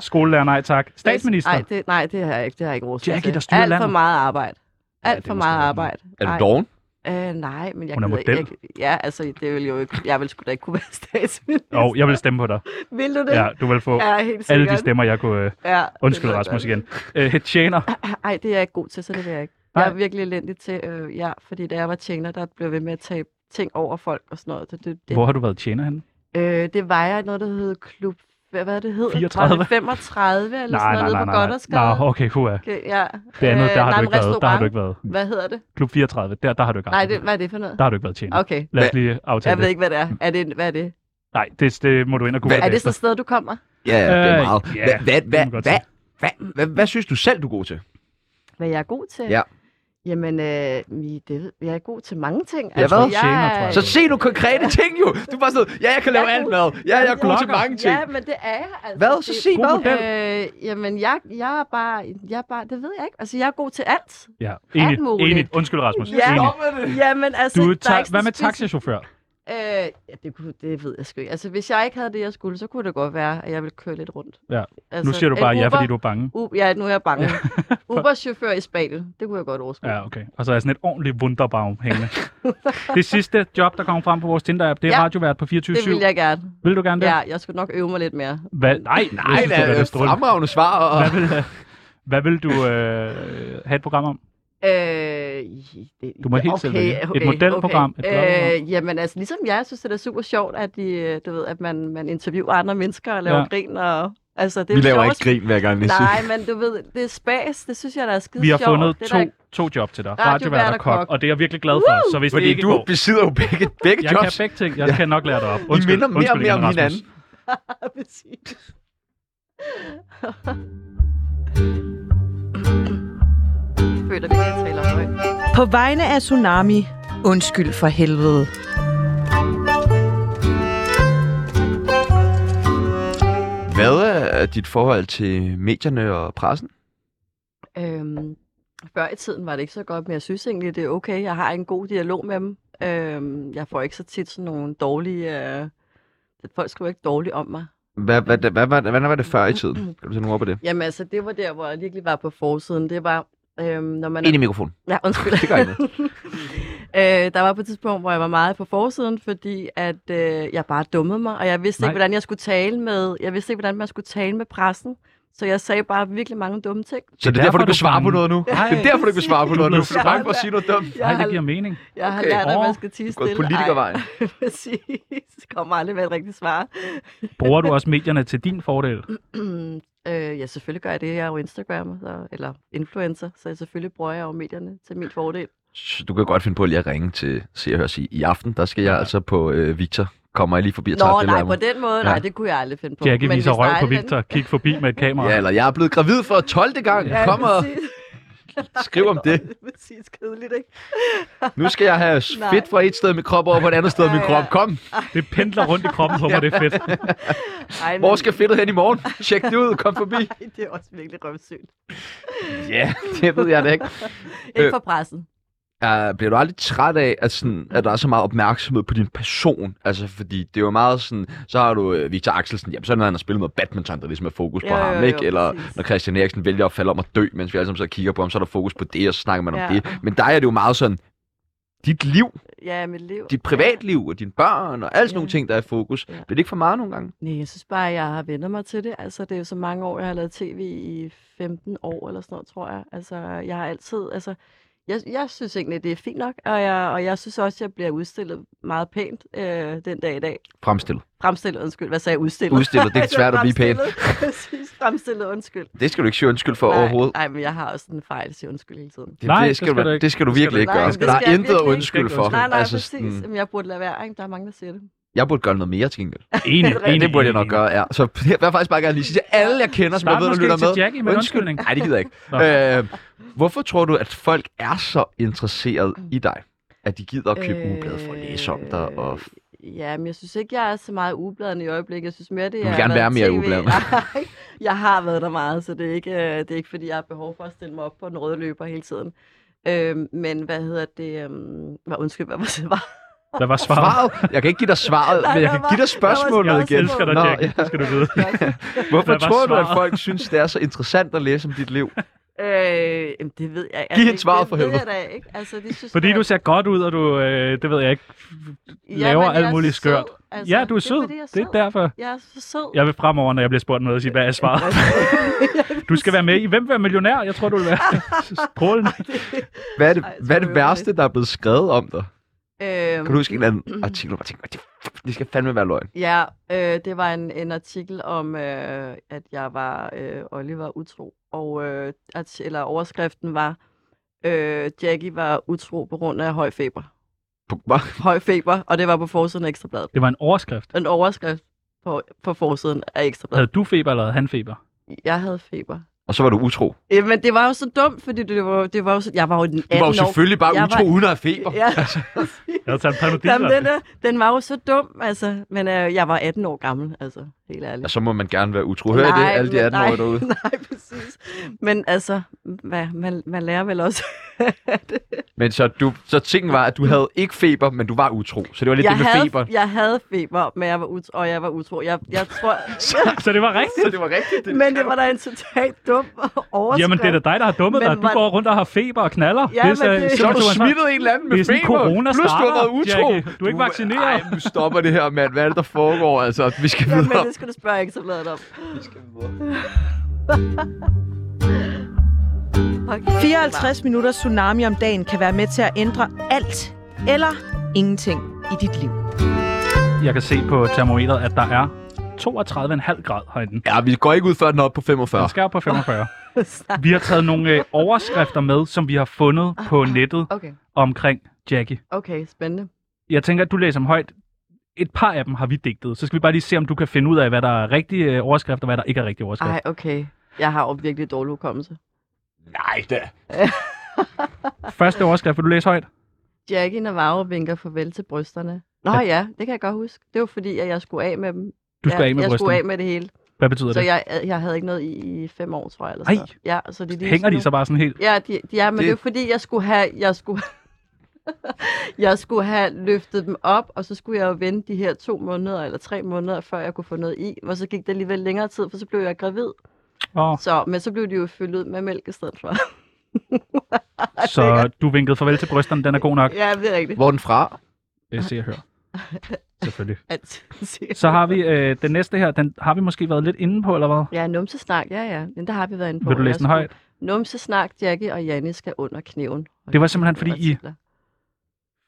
Speaker 5: Skolelærer, nej tak. Statsminister.
Speaker 1: Nej, det, nej, det har jeg ikke. Det har jeg ikke råd til. Altså,
Speaker 5: Jackie, der styrer
Speaker 1: Alt for
Speaker 5: landet.
Speaker 1: meget arbejde. Alt
Speaker 5: det er
Speaker 1: for
Speaker 5: måske
Speaker 1: meget
Speaker 5: rigtigt.
Speaker 1: arbejde.
Speaker 2: Er du
Speaker 1: Ej.
Speaker 2: doven?
Speaker 1: Øh, nej, men jeg
Speaker 5: Hun er
Speaker 1: gider ikke-
Speaker 5: model.
Speaker 1: Jeg, ja, altså, det ville jo ikke... Jeg ville sgu da ikke kunne være statsminister.
Speaker 5: Og jeg vil stemme på dig.
Speaker 1: Vil du det?
Speaker 5: Ja, du vil få
Speaker 1: Ja, helt
Speaker 5: alle de
Speaker 1: sikkert.
Speaker 5: stemmer, jeg kunne... Øh...
Speaker 1: Ja,
Speaker 5: Undskyld,
Speaker 1: det ved jeg
Speaker 5: Rasmus
Speaker 1: godt.
Speaker 5: igen. Øh, tjener.
Speaker 1: Ej, det er jeg ikke god til, så det vil jeg ikke.
Speaker 5: Nej.
Speaker 1: Jeg er virkelig elendig til, øh, ja, fordi da jeg var tjener, der blev jeg ved med at tage ting over folk og sådan noget. Så Det, det,
Speaker 5: Hvor har du været tjener henne?
Speaker 1: Øh, det var jeg i noget, der hed Klub... Hvad, hvad er det hed?
Speaker 5: 34?
Speaker 1: Var det 35 eller
Speaker 5: Nej,
Speaker 1: sådan noget
Speaker 5: nej,
Speaker 1: nede på
Speaker 5: nej, nej.
Speaker 1: Goddersgade?
Speaker 5: Nå, okay, huha.
Speaker 1: Okay, ja. Øh,
Speaker 5: Det andet, der har
Speaker 1: nej,
Speaker 5: du
Speaker 1: en
Speaker 5: ikke været. Der har du
Speaker 1: restaurant.
Speaker 5: ikke været.
Speaker 1: Hvad hedder det?
Speaker 5: Klub 34, der, der har du ikke
Speaker 1: Nej,
Speaker 5: arbejdet.
Speaker 1: det, hvad er det for noget?
Speaker 5: Der har du ikke været tjener.
Speaker 1: Okay.
Speaker 5: Lad os lige aftale
Speaker 1: Jeg ved
Speaker 5: det.
Speaker 1: ikke, hvad det er. er det, hvad er det?
Speaker 5: Nej, det, det må du ind og google
Speaker 1: Er det
Speaker 5: efter.
Speaker 1: så et sted, du kommer?
Speaker 2: Ja, ja, det er
Speaker 5: Øh,
Speaker 2: meget.
Speaker 5: ja,
Speaker 2: Hva- hvad-
Speaker 5: det
Speaker 2: hvad-
Speaker 5: må man godt
Speaker 2: hvad- hvad- hvad- Hvad synes du selv, du er god til?
Speaker 1: Hvad jeg er god til?
Speaker 2: Ja.
Speaker 1: Jamen, øh, mi- det, ved- jeg er god til mange ting. Altså,
Speaker 2: Ja, hvad?
Speaker 1: jeg,
Speaker 2: Så se nu konkrete ting jo. Du er bare sådan, ja, jeg kan lave alt mad. Ja, jeg er god til mange ting.
Speaker 1: Ja, men det er jeg. Altså,
Speaker 2: Hvad? Så
Speaker 1: Det-
Speaker 2: sig hvad?
Speaker 1: Øh, jamen, jeg, jeg, er bare, jeg er bare... Det ved jeg ikke. Altså, jeg er god til alt.
Speaker 5: Ja,
Speaker 1: Alt
Speaker 5: enig,
Speaker 1: muligt.
Speaker 5: enig. Undskyld, Rasmus. Enig.
Speaker 1: Ja, jamen, altså...
Speaker 5: Du,
Speaker 1: der er
Speaker 5: tager,
Speaker 1: ikke
Speaker 5: hvad
Speaker 1: sådan
Speaker 5: med
Speaker 1: speci-
Speaker 5: taxichauffør?
Speaker 1: Øh, ja, det, kunne, det ved jeg sgu ikke. Altså, hvis jeg ikke havde det, jeg skulle, så kunne det godt være, at jeg ville køre lidt rundt.
Speaker 5: Ja.
Speaker 1: Altså,
Speaker 5: nu siger du
Speaker 1: en
Speaker 5: bare ja,
Speaker 1: Uber-
Speaker 5: fordi du er bange.
Speaker 1: U- ja, nu er jeg bange. Uber-chauffør i Spanien, det kunne jeg godt overskue.
Speaker 5: Ja, okay. Og så er sådan et ordentligt wunderbaum hængende. det sidste job, der kommer frem på vores Tinder-app, det er ja,
Speaker 1: Ja,
Speaker 5: radiovært på 24-7.
Speaker 1: Det ville jeg gerne.
Speaker 5: Vil du gerne det?
Speaker 1: Ja, jeg skulle nok øve mig lidt mere.
Speaker 5: Hvad? Nej, jeg
Speaker 2: Nej,
Speaker 5: synes,
Speaker 2: det
Speaker 5: det
Speaker 2: er
Speaker 5: lidt
Speaker 2: et
Speaker 5: strålende.
Speaker 2: fremragende svar. Og...
Speaker 5: Hvad vil, hvad vil du øh, have et program om?
Speaker 1: Øh, det,
Speaker 5: Du må helt selv vælge. Et modelprogram, et blogprogram.
Speaker 1: øh, jamen altså, ligesom jeg synes, det er super sjovt, at, de, øh, du ved, at man, man interviewer andre mennesker og laver
Speaker 5: Ja.
Speaker 1: ja. grin. Og, altså, det er
Speaker 2: Vi
Speaker 1: jo
Speaker 2: laver
Speaker 1: sjovt.
Speaker 2: ikke grin, hver gang,
Speaker 1: Nej, men du ved, det er spas. Det synes jeg, der er skide
Speaker 5: Vi har
Speaker 1: sjovt.
Speaker 5: fundet
Speaker 1: det
Speaker 5: to,
Speaker 1: er der-
Speaker 5: to job til dig.
Speaker 1: Radiovært
Speaker 5: Radiovært og
Speaker 1: og
Speaker 5: kok.
Speaker 1: kok.
Speaker 5: Og det er jeg virkelig glad for. Så hvis det
Speaker 2: Fordi
Speaker 5: ikke
Speaker 2: du
Speaker 5: går,
Speaker 2: besidder jo begge, begge
Speaker 5: jeg kan
Speaker 2: jobs.
Speaker 5: begge ting. Jeg kan nok lære dig op.
Speaker 2: Vi
Speaker 5: Undskyld,
Speaker 2: minder mere og
Speaker 5: undskyld
Speaker 2: mere om
Speaker 5: igen, Rasmus.
Speaker 2: hinanden.
Speaker 1: Præcis. Føler vi ikke taler højt.
Speaker 6: På vegne af Tsunami, undskyld for helvede.
Speaker 2: Hvad er dit forhold til medierne og pressen?
Speaker 1: Øhm, før i tiden var det ikke så godt, men jeg synes egentlig, det er okay. Jeg har en god dialog med dem. Øhm, jeg får ikke så tit sådan nogle dårlige... Øh, folk skriver ikke dårligt om mig.
Speaker 2: Hvad, hvad, hvad, hvad, hvordan var det før i tiden? Kan du sætte nogle ord på det?
Speaker 1: Jamen altså, det var der, hvor jeg virkelig var på forsiden. Det var, øhm, når man...
Speaker 2: Ind i mikrofonen.
Speaker 1: Ja, undskyld.
Speaker 2: Det gør ikke
Speaker 1: øh, der var på et tidspunkt, hvor jeg var meget på forsiden, fordi at øh, jeg bare dummede mig, og jeg vidste
Speaker 5: Nej.
Speaker 1: ikke, hvordan jeg skulle tale med, jeg vidste ikke, hvordan man skulle tale med pressen. Så jeg sagde bare virkelig mange dumme ting.
Speaker 2: Så det er derfor, du ikke vil svare på
Speaker 5: bange.
Speaker 2: noget nu.
Speaker 5: Nej.
Speaker 2: Det er derfor, du ikke vil svare på
Speaker 5: Du
Speaker 2: noget nu.
Speaker 5: blev
Speaker 2: Du er bange for at sige noget dumt.
Speaker 1: Jeg,
Speaker 5: Nej,
Speaker 1: har,
Speaker 5: det giver mening.
Speaker 1: jeg har
Speaker 2: Okay.
Speaker 1: lært, at
Speaker 5: Åh,
Speaker 1: man skal tige
Speaker 2: Du er gået
Speaker 1: stille.
Speaker 2: politikervejen.
Speaker 1: Ej, Præcis. Kommer aldrig med et rigtigt svar.
Speaker 5: Bruger du også medierne til din fordel?
Speaker 1: øh, ja, selvfølgelig gør jeg det. Jeg er jo Instagrammer, så, eller influencer, så jeg selvfølgelig bruger jeg jo medierne til min fordel.
Speaker 2: Så du kan godt finde på lige at ringe til Se og Hør og sige, i aften, der skal jeg altså på øh, Victor. Kommer jeg lige forbi og tager
Speaker 1: Nå,
Speaker 2: et
Speaker 1: nej,
Speaker 2: billede
Speaker 1: på
Speaker 2: af
Speaker 1: den måde, nej,
Speaker 2: Ja.
Speaker 1: det kunne jeg aldrig finde på.
Speaker 5: Jackie viser
Speaker 1: hvis der
Speaker 5: røv
Speaker 1: er
Speaker 5: på
Speaker 1: et eller
Speaker 5: Victor. Kig forbi med et
Speaker 2: mig.
Speaker 5: kamera.
Speaker 2: Ja, eller jeg er blevet gravid for 12. gang.
Speaker 1: andet-
Speaker 2: Kom og
Speaker 1: præcis.
Speaker 2: skriv om det.
Speaker 1: Det er præcis kedeligt, ikke?
Speaker 2: Nu skal jeg have
Speaker 1: Nej.
Speaker 2: fedt fra et sted af min krop over på et andet sted af min
Speaker 1: Ja,
Speaker 2: krop.
Speaker 1: ja.
Speaker 2: Kom.
Speaker 5: Det pendler rundt i kroppen på mig, det er fedt.
Speaker 1: Ej,
Speaker 2: Hvor
Speaker 1: men-
Speaker 2: skal fedtet hen i morgen? Tjek det ud. Kom forbi.
Speaker 1: Ej, det er også virkelig røvsygt.
Speaker 2: Ja, det ved jeg da ikke.
Speaker 1: Ikke
Speaker 2: Øh,
Speaker 1: for pressen.
Speaker 2: Uh, bliver du aldrig træt af, at, sådan, at der er så meget opmærksomhed på din person? Altså, fordi det er jo meget sådan, så har du øh, Victor Axelsen, jamen så er det, når han har spillet noget badminton, der ligesom er fokus på
Speaker 1: Jo, jo,
Speaker 2: ham,
Speaker 1: jo,
Speaker 2: ikke? Eller
Speaker 1: præcis.
Speaker 2: når Christian Eriksen vælger at falde om at dø, mens vi alle sammen så kigger på ham, så er der fokus på det, og så snakker man om
Speaker 1: Ja.
Speaker 2: det. Men dig er det jo meget sådan, dit liv,
Speaker 1: Ja, mit liv.
Speaker 2: dit privatliv og dine børn og alle sådan nogle
Speaker 1: Ja.
Speaker 2: ting, der er i fokus.
Speaker 1: Ja.
Speaker 2: Bliver det ikke for meget nogle gange?
Speaker 1: Nej, jeg synes bare, at jeg har vendt mig til det. Altså, det er jo så mange år, jeg har lavet tv i 15 år eller sådan noget, tror jeg. Altså, jeg har altid, altså, jeg, jeg synes egentlig, det er fint nok, og jeg, og jeg synes også, jeg bliver udstillet meget pænt øh, den dag i dag.
Speaker 2: Fremstillet.
Speaker 1: Fremstillet, undskyld. Hvad sagde jeg? Udstillet.
Speaker 2: Udstillet, det er svært at blive pæn.
Speaker 1: Fremstillet, Præcis, fremstillet, undskyld.
Speaker 2: Det skal du ikke sige undskyld for
Speaker 1: nej,
Speaker 2: overhovedet.
Speaker 1: Nej, men jeg har også en fejl at sige undskyld hele tiden.
Speaker 2: Det- Nej, det skal det skal du- du ikke. det skal du virkelig ikke gøre.
Speaker 1: det skal
Speaker 2: Der er
Speaker 1: jeg
Speaker 2: intet at
Speaker 1: virkelig ikke.
Speaker 2: undskylde
Speaker 1: Nej,
Speaker 2: for.
Speaker 1: nej,
Speaker 2: Altså
Speaker 1: altså, præcis.
Speaker 2: sådan-
Speaker 1: Jamen, jeg burde lade være, ikke? Der er mange, der siger det.
Speaker 2: Jeg burde gøre noget mere til gengæld.
Speaker 5: Enig,
Speaker 2: ja, det burde jeg nok gøre, ja. Så jeg vil faktisk bare gerne lige sige til alle, jeg kender, som
Speaker 5: Start
Speaker 2: jeg ved, der
Speaker 5: måske
Speaker 2: lytter
Speaker 5: til
Speaker 2: med.
Speaker 5: Jackie med en undskyldning.
Speaker 2: Nej, det gider jeg ikke. Øh, hvorfor tror du, at folk er så interesseret i dig? At de gider at købe øh, ugebladet for at læse om dig? Og...
Speaker 1: Ja, men jeg synes ikke, jeg er så meget i ugebladene i øjeblikket. Jeg synes mere, det
Speaker 2: vil
Speaker 1: er... været
Speaker 2: gerne være mere i
Speaker 1: TV.
Speaker 2: ugebladene.
Speaker 1: Nej, jeg har været der meget, så det er, ikke, øh, det er ikke, fordi jeg har behov for at stille mig op på en røde løber hele tiden. Øhm, men hvad hedder det? Øhm, hvad- undskyld, hvad var det? Var?
Speaker 5: Hvad var svaret?
Speaker 2: svaret? Jeg kan ikke give dig svaret,
Speaker 1: Nej,
Speaker 2: men jeg
Speaker 1: der
Speaker 2: kan
Speaker 1: var-
Speaker 2: give dig
Speaker 1: der var
Speaker 2: spørgsmålet
Speaker 1: spørgsmål.
Speaker 2: igen.
Speaker 1: Jeg elsker dig, Jackie.
Speaker 5: Det skal du vide.
Speaker 2: Hvorfor
Speaker 5: Hvad var
Speaker 2: tror du, at
Speaker 5: svaret?
Speaker 2: folk synes, det er så interessant at læse om dit liv?
Speaker 1: Øh, jamen, det ved jeg
Speaker 2: Giv hende
Speaker 1: ikke.
Speaker 2: svaret
Speaker 1: Det
Speaker 2: for
Speaker 1: ved
Speaker 2: helvede.
Speaker 1: Jeg da ikke. Altså, de synes,
Speaker 5: Fordi
Speaker 1: da-
Speaker 5: du ser godt ud, og du, øh, det ved jeg ikke,
Speaker 1: Ja,
Speaker 5: laver
Speaker 1: men jeg er
Speaker 5: alt muligt
Speaker 1: så
Speaker 5: skørt.
Speaker 1: sød.
Speaker 5: Altså, ja, du er
Speaker 1: det
Speaker 5: sød.
Speaker 1: fordi, jeg
Speaker 5: Det er derfor.
Speaker 1: Jeg er så sød.
Speaker 5: Jeg vil fremover, når jeg bliver spurgt om noget, sige, hvad er svaret? du skal være med i Hvem vil være millionær? Jeg tror, du vil være strålende.
Speaker 2: Hvad er det, hvad er det værste, der er blevet skrevet om dig?
Speaker 1: Øhm,
Speaker 2: Kan du huske en eller
Speaker 1: Mm-hmm.
Speaker 2: anden artikel, hvor jeg tænkte, "Det- det skal fandme være løgn?
Speaker 1: Ja, øh, det var en, en artikel om, øh, at jeg var øh, Oliver utro, og øh, at, eller overskriften var, øh, Jackie var utro på grund af høj feber.
Speaker 2: På, hvad?
Speaker 1: Høj feber, og det var på forsiden af Ekstrabladet.
Speaker 5: Det var en overskrift.
Speaker 1: En overskrift på, på forsiden af
Speaker 5: Havde
Speaker 1: Ekstrabladet.
Speaker 5: du feber, eller havde han feber?
Speaker 1: Jeg havde feber.
Speaker 2: Og så var du utro.
Speaker 1: Øh, men det var jo så dumt, fordi det var, det var jo så, jeg var jo den 18
Speaker 2: Du var jo
Speaker 1: år.
Speaker 2: selvfølgelig bare
Speaker 1: Jeg
Speaker 2: utro uden at have feber. Altså.
Speaker 1: Ja.
Speaker 5: Jeg havde taget en panodil.
Speaker 1: Jamen, den, er, den var jo så dum, altså. Men øh, jeg var 18 år gammel, altså. Helt ærligt.
Speaker 2: Ja, så må man gerne være utro. Hør I det, alle de
Speaker 1: men
Speaker 2: 18 år
Speaker 1: nej,
Speaker 2: derude.
Speaker 1: Nej, præcis. Men altså, hvad, man, man lærer vel også.
Speaker 2: Men så, du, så tingen var, at du havde ikke feber, men du var utro. Så det var lidt
Speaker 1: jeg,
Speaker 2: det med
Speaker 1: havde,
Speaker 2: feber.
Speaker 1: jeg havde feber, men jeg var utro, og jeg var utro. Jeg, jeg tror,
Speaker 5: Så det var rigtigt.
Speaker 2: Så det var rigtigt. Det.
Speaker 1: men det var da en totalt dum overskrift.
Speaker 5: Jamen, det er da dig, der har dummet
Speaker 1: Men
Speaker 5: dig. Du
Speaker 1: hvor-
Speaker 5: går rundt og har feber og knaller.
Speaker 1: Ja, men det-
Speaker 5: simpelthen
Speaker 2: Så har du
Speaker 5: ansvar.
Speaker 2: smittet en eller anden med
Speaker 5: Det er sådan,
Speaker 2: feber.
Speaker 5: corona
Speaker 2: Plus, du har
Speaker 5: starter,
Speaker 2: været utro.
Speaker 5: Jackie. Du er ikke vaccineret.
Speaker 2: Ej, nu stopper det her, mand. Hvad er det, der foregår? Altså, vi skal
Speaker 1: Ja,
Speaker 2: videre.
Speaker 1: men det skal du spørge Ekstrabladet om.
Speaker 6: 54 minutter tsunami om dagen kan være med til at ændre alt eller ingenting i dit liv.
Speaker 5: Jeg kan se på termometeret, at der er 32,5 grad herinde.
Speaker 2: Ja, vi går ikke ud, før den er oppe på 45.
Speaker 5: Den skal op på 45. Vi har taget nogle øh, overskrifter med, som vi har fundet på nettet
Speaker 1: Okay,
Speaker 5: omkring Jackie.
Speaker 1: okay, spændende.
Speaker 5: Jeg tænker, at du læser dem højt. Et par af dem har vi digtet. Så skal vi bare lige se, om du kan finde ud af, hvad der er rigtige øh, overskrifter, og hvad der ikke er rigtige overskrifter.
Speaker 1: Ej, okay. Jeg har jo virkelig dårlig hukommelse.
Speaker 2: Nej, da.
Speaker 5: Første overskrift, vil du læse højt?
Speaker 1: Jackie Navarro vinker farvel til brysterne. Nå ja. det kan jeg godt huske. Det var fordi, at jeg skulle af med dem.
Speaker 5: Du skal
Speaker 1: jeg,
Speaker 5: af med
Speaker 1: jeg skulle
Speaker 5: brysterne.
Speaker 1: af med det hele.
Speaker 5: Hvad betyder
Speaker 1: Så
Speaker 5: det?
Speaker 1: jeg, øh, jeg havde ikke noget i, i fem år, tror jeg. Eller
Speaker 5: Ej.
Speaker 1: sådan noget. Ja, så det,
Speaker 5: Hænger de så bare sådan helt?
Speaker 1: Ja, de, de, ja men det...
Speaker 2: Det-
Speaker 1: det er fordi, jeg skulle have... Jeg skulle... jeg skulle have løftet dem op, og så skulle jeg jo vente de her to måneder eller tre måneder, før jeg kunne få noget i. Og så gik det alligevel længere tid, for så blev jeg gravid.
Speaker 5: Åh,
Speaker 1: Så, men så blev de jo fyldt ud med mælk i stedet for.
Speaker 5: så du vinkede farvel til brysterne, den er god nok. Øh,
Speaker 1: ja, det er rigtigt.
Speaker 2: Hvor er den fra?
Speaker 5: Det ser jeg hører. Selvfølgelig.
Speaker 1: At,
Speaker 5: Så har vi øh, den næste her. Den har vi måske været lidt inde på, eller hvad?
Speaker 1: Ja, numsesnak, ja, ja. Men der har vi været inde på.
Speaker 5: Vil du læse den
Speaker 1: Jeg
Speaker 5: højt?
Speaker 1: skulle- Numsesnak, Jackie og Janne skal under kniven. Og
Speaker 5: Det var simpelthen, fordi I-
Speaker 1: titler.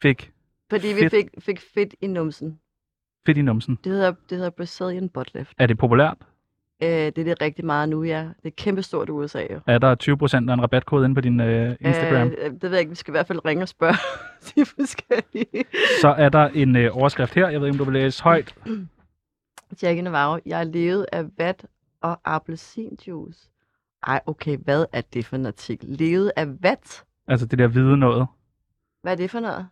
Speaker 5: Fik
Speaker 1: Fordi vi
Speaker 5: fedt.
Speaker 1: fik, fik fedt i numsen.
Speaker 5: fedt i numsen.
Speaker 1: Det hedder, det hedder Brazilian butt lift.
Speaker 5: Er det populært?
Speaker 1: Øh, det er det rigtig meget nu, ja. Det er kæmpestort i USA, jo.
Speaker 5: Er der 20% af en rabatkode inde på din øh, Instagram?
Speaker 1: Øh, det ved jeg ikke. Vi skal i hvert fald ringe og spørge de forskellige.
Speaker 5: Så er der en øh, overskrift her. Jeg ved ikke, om du vil læse højt.
Speaker 1: Jackie Navarro, jeg er levet af vat og appelsinjuice. Ej, okay, hvad er det for en artikel? Levet af vat?
Speaker 5: Altså det der hvide noget.
Speaker 1: Hvad er det for noget?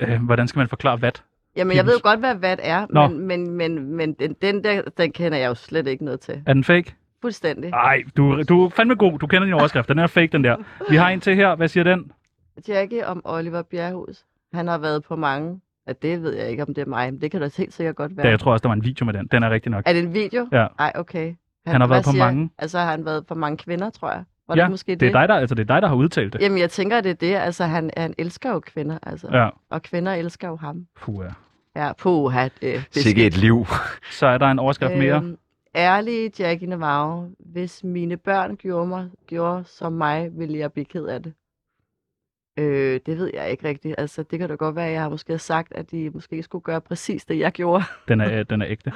Speaker 5: Øh, hvordan skal man forklare vat?
Speaker 1: Jamen, jeg ved jo
Speaker 5: Pimus.
Speaker 1: godt, hvad vat er,
Speaker 5: Nå.
Speaker 1: men, men, men, men den, den der, den kender jeg jo slet ikke noget til.
Speaker 5: Er den fake?
Speaker 1: Fuldstændig.
Speaker 5: Nej, du, du er fandme god. Du kender din overskrift. Den er fake, den der. Vi har en til her. Hvad siger den?
Speaker 1: Jackie om Oliver Bjerghus. Han har været på mange. Ja, det ved jeg ikke, om det er mig, men det kan da helt sikkert godt
Speaker 5: Ja,
Speaker 1: være.
Speaker 5: jeg tror også, der var en video med den. Den er rigtig nok.
Speaker 1: Er det en video?
Speaker 5: Ja.
Speaker 1: Nej, okay.
Speaker 5: Han har
Speaker 1: hvad
Speaker 5: været på
Speaker 1: siger han?
Speaker 5: mange.
Speaker 1: Altså, har han været på mange kvinder, tror jeg. Var
Speaker 5: ja,
Speaker 1: det måske det?
Speaker 5: det, er dig, der, altså, det er dig, der har udtalt det.
Speaker 1: Jamen, jeg tænker, at det er det. Altså, han, han elsker jo kvinder, altså.
Speaker 5: Ja.
Speaker 1: Og kvinder elsker jo ham.
Speaker 5: Puh, ja.
Speaker 1: Ja, puha. Det, det
Speaker 2: Sikke et liv.
Speaker 5: Så er der en overskrift mere.
Speaker 1: Øhm, ærlige Jackie Navarro, hvis mine børn gjorde, mig, gjorde som mig, ville jeg blive ked af det. Øh, det ved jeg ikke rigtigt. Altså, det kan da godt være, at jeg har måske sagt, at de måske ikke skulle gøre præcis det, jeg gjorde.
Speaker 5: Den er, øh, den er ægte.